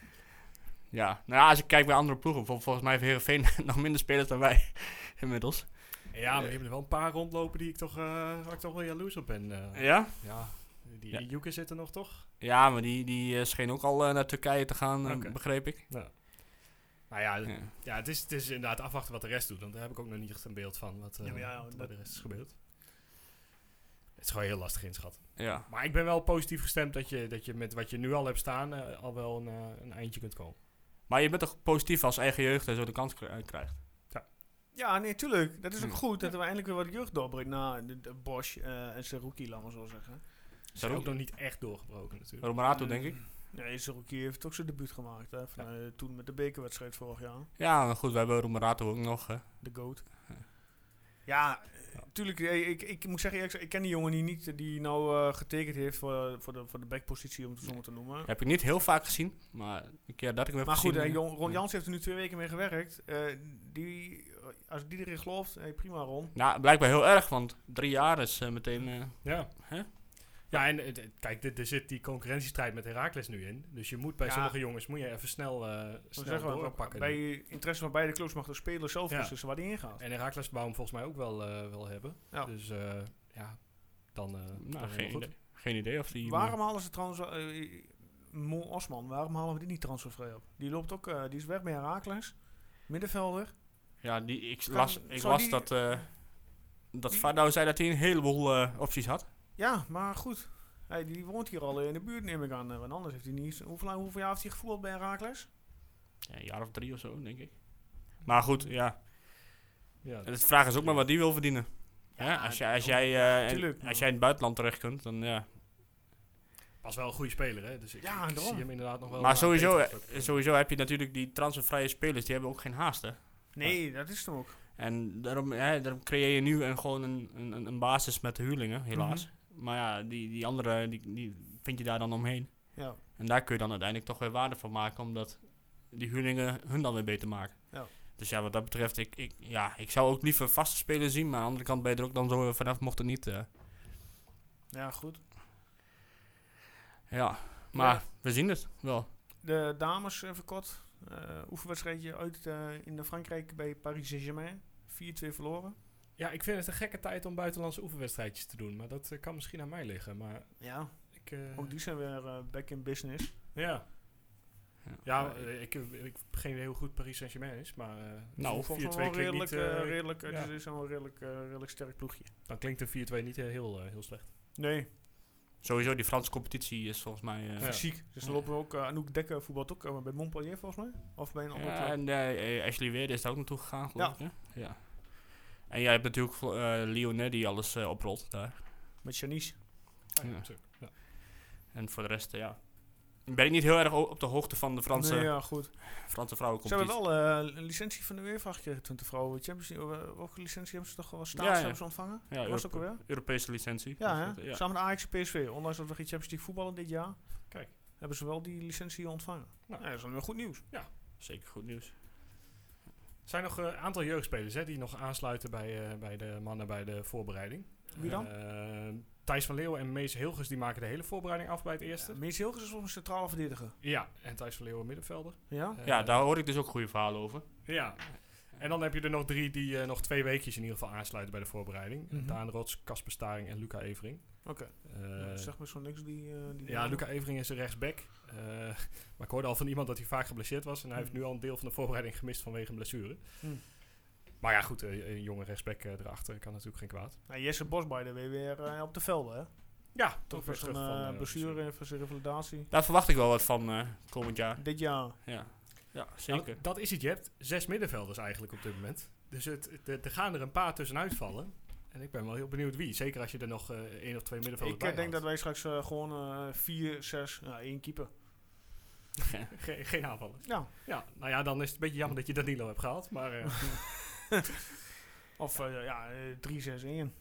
Speaker 3: Ja, nou ja, als ik kijk bij andere ploegen, bijvoorbeeld volgens mij heeft Heerenveen nog minder spelers dan wij inmiddels.
Speaker 2: Ja, maar die hebben er wel een paar rondlopen die ik toch, eh, waar ik toch wel jaloers op ben. eh.
Speaker 3: Ja?
Speaker 2: ja, die
Speaker 3: Ja.
Speaker 2: Juke zit er nog toch?
Speaker 3: Ja, maar die, die eh, scheen ook al eh, naar Turkije te gaan, eh,
Speaker 2: Oké.
Speaker 3: begreep ik.
Speaker 2: Nou ja,
Speaker 3: Ja.
Speaker 2: ja het, is, het is inderdaad afwachten wat de rest doet. Want daar heb ik ook nog niet echt een beeld van wat, eh,
Speaker 1: Ja, maar ja,
Speaker 2: wat er bij
Speaker 1: dat-
Speaker 2: de rest is gebeurd. Het is gewoon heel lastig inschatten.
Speaker 3: Ja.
Speaker 2: Maar ik ben wel positief gestemd dat je, dat je met wat je nu al hebt staan eh, al wel een, eh, een eindje kunt komen.
Speaker 3: Maar je bent toch positief als eigen jeugd en zo de kans kri- eh, krijgt?
Speaker 1: Ja, nee, tuurlijk. Dat is ook
Speaker 3: Hm.
Speaker 1: goed dat we eindelijk weer wat jeugd doorbrengt na de, de Bosch eh, en Seruki, laat maar zo zeggen.
Speaker 2: Ze is ook
Speaker 3: Saruki.
Speaker 2: nog niet echt doorgebroken natuurlijk.
Speaker 3: Romarato,
Speaker 1: Mm.
Speaker 3: denk ik.
Speaker 1: Nee, Seruki heeft ook zijn debuut gemaakt. Hè, van, eh, toen met de bekerwedstrijd vorig jaar.
Speaker 3: Ja, maar goed, we hebben Romarato ook nog. hè.
Speaker 1: De GOAT. Ja, eh, tuurlijk. eh, Ik, ik moet zeggen, eerlijk gezegd, ik ken die jongen die niet, eh, die nou eh, getekend heeft voor, voor, de, voor de backpositie, om het zo maar te noemen.
Speaker 3: Heb ik niet heel vaak gezien, maar een keer dat ik hem heb
Speaker 1: Maar
Speaker 3: gezien...
Speaker 1: goed, eh,
Speaker 3: eh,
Speaker 1: Jon- Ron
Speaker 3: ja.
Speaker 1: Jans heeft er nu twee weken mee gewerkt. Eh, die, als die erin gelooft, eh, prima Ron.
Speaker 3: Nou, blijkbaar heel erg, want drie jaar is eh, meteen... eh,
Speaker 2: Ja.
Speaker 3: Hè?
Speaker 2: Ja, en eh, d- kijk, dit- er zit die concurrentiestrijd met Herakles nu in. Dus je moet bij
Speaker 1: Ja.
Speaker 2: sommige jongens moet je even snel, eh
Speaker 1: Dan
Speaker 2: snel
Speaker 1: zeggen we,
Speaker 2: doorpakken.
Speaker 1: bij interesse van beide clubs mag de speler zelf
Speaker 2: Ja.
Speaker 1: beslissen waar die ingaat.
Speaker 2: En Herakles Baum volgens mij ook wel, eh, wel hebben.
Speaker 1: Ja.
Speaker 2: Dus eh, ja, dan, eh dan
Speaker 3: nou, geen,
Speaker 2: helemaal
Speaker 3: idee. geen idee of die...
Speaker 1: Waarom halen ze trouwens... eh, Mo Osman, waarom halen we die niet transfervrij op? Die loopt ook, eh, die is weg bij Herakles. Middenvelder.
Speaker 3: Ja, die, ik
Speaker 1: Kan-
Speaker 3: las, ik
Speaker 1: zou
Speaker 3: las
Speaker 1: die-
Speaker 3: dat... eh dat Fardou zei dat hij een heleboel eh, opties had.
Speaker 1: Ja, maar goed. Hey, die woont hier al in de buurt, neem ik aan. eh, Want anders heeft hij niet... Hoeveel, lang- hoeveel jaar heeft hij gevoeld bij Herakles?
Speaker 3: Ja, een jaar of drie of zo, denk ik. Maar goed, ja.
Speaker 2: Ja,
Speaker 3: En de vraag is ook maar wat die wil verdienen.
Speaker 1: Ja,
Speaker 3: Ja, als, jij, als, jij, eh, en-
Speaker 1: tuurlijk,
Speaker 3: als
Speaker 1: maar-
Speaker 3: jij in het buitenland terecht kunt, dan ja.
Speaker 2: was wel een goede speler, hè? Dus ik,
Speaker 1: Ja,
Speaker 2: ik
Speaker 1: daarom.
Speaker 2: zie hem inderdaad nog wel.
Speaker 3: maar
Speaker 2: naar
Speaker 3: sowieso,
Speaker 2: Peter
Speaker 3: eh,
Speaker 2: kunnen.
Speaker 3: sowieso heb je natuurlijk die transfervrije spelers, die hebben ook geen haast. Hè?
Speaker 1: Nee, dat is hem ook.
Speaker 3: En daarom, hè, daarom creëer je nu een, gewoon een, een, een basis met de huurlingen, helaas. Maar ja, die, die andere, die, die vind je daar dan omheen.
Speaker 1: Ja.
Speaker 3: En daar kun je dan uiteindelijk toch weer waarde van maken, omdat die huurlingen hun dan weer beter maken.
Speaker 1: Ja.
Speaker 3: Dus ja, wat dat betreft, ik, ik, ja, ik zou ook liever vaste spelers zien, maar aan de andere kant ben je er ook dan zo weer vanaf, mocht het niet. eh.
Speaker 1: Ja, goed.
Speaker 3: ja, maar we zien het wel.
Speaker 1: De dames even kort. Eh, oefenwedstrijdje uit eh, in de Frankrijk bij Paris Saint-Germain. 4-2 verloren.
Speaker 2: Ja, ik vind het een gekke tijd om buitenlandse oefenwedstrijdjes te doen. Maar dat eh, kan misschien aan mij liggen. Maar
Speaker 1: Ja,
Speaker 2: ik. eh,
Speaker 1: ook die zijn weer eh, back in business.
Speaker 2: Ja.
Speaker 3: Ja.
Speaker 2: Ja, eh, ik, ik heb geen idee hoe goed Paris Saint-Germain is, maar eh,
Speaker 3: Nou,
Speaker 2: een 4-2
Speaker 1: Volgens mij wel
Speaker 2: klinkt
Speaker 1: redelijk,
Speaker 2: niet,
Speaker 1: eh,
Speaker 2: eh,
Speaker 1: redelijk,
Speaker 2: ja.
Speaker 1: Het is een redelijk, eh, redelijk sterk ploegje.
Speaker 2: dan klinkt een 4-2 niet eh, heel, eh, heel slecht.
Speaker 1: Nee,
Speaker 3: Sowieso, die Franse competitie is volgens mij... eh,
Speaker 2: Ja.
Speaker 1: fysiek. Dus er lopen ook, eh, Anouk Dekker voetbalt ook eh, bij Montpellier volgens mij. Of bij een andere
Speaker 3: Ja,
Speaker 1: club.
Speaker 3: en eh, Ashley Weerde is daar ook naartoe gegaan, geloof
Speaker 1: Ja.
Speaker 3: ik. Hè? Ja. En jij hebt natuurlijk eh Lionel die alles eh, oprolt daar.
Speaker 1: Met Janice.
Speaker 2: Ah, ja,
Speaker 3: Ja.
Speaker 2: zo.
Speaker 3: En voor de rest, eh, ja. Ben ik niet heel erg o- op de hoogte van de Franse,
Speaker 1: Nee, ja, goed.
Speaker 3: Franse
Speaker 1: Ze hebben
Speaker 3: vrouwencompetitie.
Speaker 1: wel eh, een licentie van de UEFA gekregen, 20 vrouwen. Champions League, eh, welke licentie hebben ze toch wel? Staats
Speaker 3: Ja, ja.
Speaker 1: hebben ze ontvangen?
Speaker 3: Ja,
Speaker 1: was het ook
Speaker 3: Europe-
Speaker 1: alweer?
Speaker 3: Europese licentie.
Speaker 1: Ja,
Speaker 3: Dus
Speaker 1: hè?
Speaker 3: dat, ja.
Speaker 1: samen met Ajax en PSV. Ondanks dat we geen Champions League voetballen dit jaar,
Speaker 2: Kijk.
Speaker 1: hebben ze wel die licentie ontvangen.
Speaker 2: Nou.
Speaker 1: Nou, dat is dan weer goed nieuws.
Speaker 3: Zeker goed nieuws.
Speaker 2: Er zijn nog een aantal jeugdspelers hè, die nog aansluiten bij, eh, bij de mannen bij de voorbereiding.
Speaker 1: Wie dan?
Speaker 2: Eh, Thijs van Leeuwen en Mees Hilgers die maken de hele voorbereiding af bij het eerste.
Speaker 1: Ja, Mees Hilgers is volgens een centrale verdediger.
Speaker 2: Ja, en Thijs van Leeuwen middenvelder.
Speaker 1: Ja?
Speaker 2: Eh,
Speaker 3: ja, daar hoor ik dus ook goede verhalen over.
Speaker 2: Ja. En dan heb je er nog drie die eh, nog twee weekjes in ieder geval aansluiten bij de voorbereiding.
Speaker 1: Mhm.
Speaker 2: Daan Rots, Casper Staring en Luca Evering.
Speaker 1: Oké.
Speaker 2: Eh,
Speaker 1: Nou, zeg me zo niks die... eh, die
Speaker 2: Ja,
Speaker 1: naam.
Speaker 2: Luca Evering is een rechtsback. Eh, maar ik hoorde al van iemand dat hij vaak geblesseerd was. En hij heeft nu al een deel van de voorbereiding gemist vanwege een blessure.
Speaker 1: Hmm.
Speaker 2: Maar ja, goed, eh, een jonge rechtsback eh, erachter kan natuurlijk geen kwaad.
Speaker 1: Nou, Jesse Bos bij de weer eh, op de velden, hè?
Speaker 2: Ja,
Speaker 1: Toch weer een
Speaker 2: eh,
Speaker 1: eh, blessure en zijn revalidatie.
Speaker 3: Daar verwacht ik wel wat van eh, komend jaar.
Speaker 1: Dit jaar.
Speaker 3: Ja, ja
Speaker 2: Nou,
Speaker 3: zeker.
Speaker 2: dat is het. Je hebt zes middenvelders eigenlijk op dit moment. Dus het, het- er- er gaan er een paar tussenuit vallen. En ik ben wel heel benieuwd wie. Zeker als je er nog eh, één of twee middenvelders
Speaker 1: Ik
Speaker 2: bij
Speaker 1: eh, denk dat
Speaker 2: houdt.
Speaker 1: wij straks eh, gewoon eh, vier, zes, nou, één keeper.
Speaker 2: Ge- geen aanvallers.
Speaker 1: Ja.
Speaker 2: Ja, nou ja, dan is het een beetje
Speaker 1: Hmm.
Speaker 2: jammer dat je Danilo hebt gehaald. Maar eh,
Speaker 1: Of eh, ja, eh, drie, zes, één.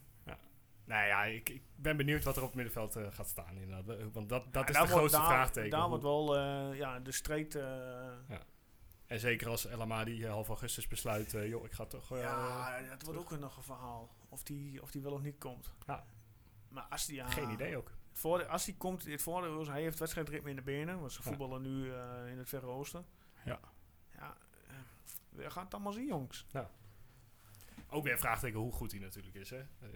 Speaker 2: Nou ja, ik, ik ben benieuwd wat er op het middenveld eh, gaat staan. Inderdaad. Eh, Want dat, dat
Speaker 1: Ja,
Speaker 2: is
Speaker 1: daar
Speaker 2: de
Speaker 1: wordt-
Speaker 2: grootste
Speaker 1: daar-
Speaker 2: vraagteken.
Speaker 1: Daar
Speaker 2: Hoe-
Speaker 1: wordt wel eh, ja, de street... eh,
Speaker 2: En zeker als El Amadi eh, half augustus besluit, eh, joh, ik ga toch... eh,
Speaker 1: ja, dat wordt ook nog een verhaal. Of die, of die wel of niet komt.
Speaker 2: Ja.
Speaker 1: Maar als die... ja,
Speaker 2: Geen idee ook.
Speaker 1: het voordeel- als die komt, het voordeel is, hij heeft wedstrijdritme in de benen. Want ze
Speaker 2: Ja.
Speaker 1: voetballen nu eh, in het Verre Oosten.
Speaker 3: Ja.
Speaker 1: Ja, eh, we gaan het allemaal zien, jongens.
Speaker 2: Ook weer een vraagteken hoe goed hij natuurlijk is, hè. Eh,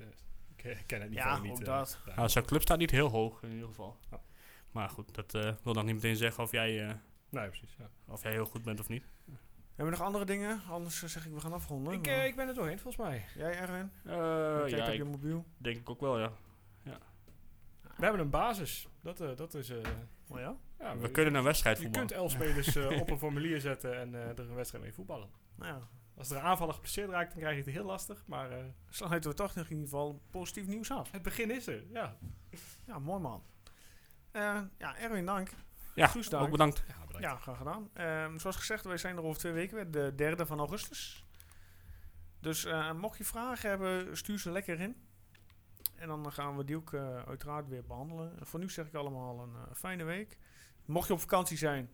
Speaker 2: ik eh, ken het niet.
Speaker 1: Ja,
Speaker 2: niet,
Speaker 1: ook
Speaker 2: eh,
Speaker 1: dat.
Speaker 2: daar.
Speaker 3: Nou, zijn club staat niet heel hoog in ieder geval.
Speaker 2: Ja.
Speaker 3: Maar goed, dat eh, wil dan niet meteen zeggen of jij, eh,
Speaker 2: Nee, precies, ja.
Speaker 3: of jij heel goed bent of niet.
Speaker 1: Hebben we nog andere dingen? Anders eh, zeg ik, we gaan afronden.
Speaker 2: Ik,
Speaker 1: Maar-
Speaker 2: eh, ik ben er doorheen, volgens mij.
Speaker 1: Jij, Erwin?
Speaker 3: Eh
Speaker 1: Kijk
Speaker 3: ja,
Speaker 1: op
Speaker 3: ik
Speaker 1: je mobiel.
Speaker 3: denk ik ook wel, ja.
Speaker 2: We hebben een basis. Dat, eh, dat is... eh,
Speaker 1: Oh ja?
Speaker 2: ja,
Speaker 3: We kunnen een wedstrijd
Speaker 2: Je kunt
Speaker 3: voetballen.
Speaker 2: elf spelers eh, op een formulier zetten en eh, er een wedstrijd mee voetballen.
Speaker 1: Nou ja,
Speaker 2: Als er een aanvaller geblesseerd raakt, dan krijg je het heel lastig. Maar eh,
Speaker 1: sluiten we toch nog in ieder geval positief nieuws af.
Speaker 2: het begin is er, ja.
Speaker 1: Ja, mooi man. Eh, ja, Erwin, dank.
Speaker 3: Ja,
Speaker 1: Guus, dank.
Speaker 3: ook bedankt.
Speaker 2: Ja, bedankt.
Speaker 1: Ja, graag gedaan. Ehm, zoals gezegd, wij zijn er over twee weken weer, de derde van augustus. Dus eh, mocht je vragen hebben, stuur ze lekker in. En dan gaan we die ook eh, uiteraard weer behandelen. En voor nu zeg ik allemaal een eh, fijne week. Mocht je op vakantie zijn,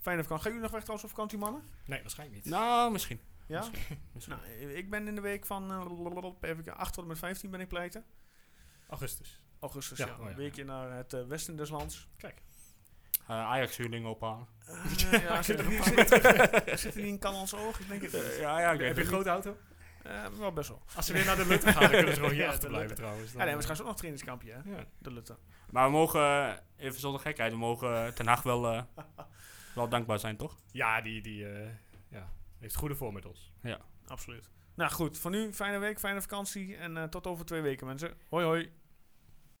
Speaker 1: fijne vakantie. Gaan jullie nog weg trouwens op vakantie, mannen?
Speaker 2: Nee, waarschijnlijk niet.
Speaker 3: Nou, misschien.
Speaker 1: Ja?
Speaker 3: misschien.
Speaker 1: Nou, ik ben in de week van eh, blablabla, even kijken, 8 tot en met 15 ben ik pleiten.
Speaker 2: Augustus.
Speaker 1: Augustus, ja.
Speaker 2: Ja, oh ja.
Speaker 1: Een weekje naar het eh, westen des lands.
Speaker 3: Eh, Ajax-huurlingen ophalen.
Speaker 1: Eh, ja, zit er niet zit, zit er niet in kan ons oog? Ik denk het niet.
Speaker 3: ja, ja, ik weet
Speaker 2: Heb je een
Speaker 3: het niet.
Speaker 2: grote auto?
Speaker 1: Eh, wel best wel.
Speaker 2: Als ze weer naar de Lutte gaan, dan kunnen ze gewoon hier
Speaker 1: Ja, de
Speaker 2: achter blijven trouwens.
Speaker 1: Ja, nee, we gaan zo nog trainingskampje, hè?
Speaker 2: Ja.
Speaker 1: De Lutte.
Speaker 3: Maar we mogen, eh, even zonder gekheid, we mogen eh, Ten Hag wel, eh, wel dankbaar zijn, toch?
Speaker 2: Ja, die, die eh, ja, heeft goede voor met ons.
Speaker 1: Absoluut. Nou goed, voor nu fijne week, fijne vakantie en eh, tot over twee weken, mensen. Hoi, hoi.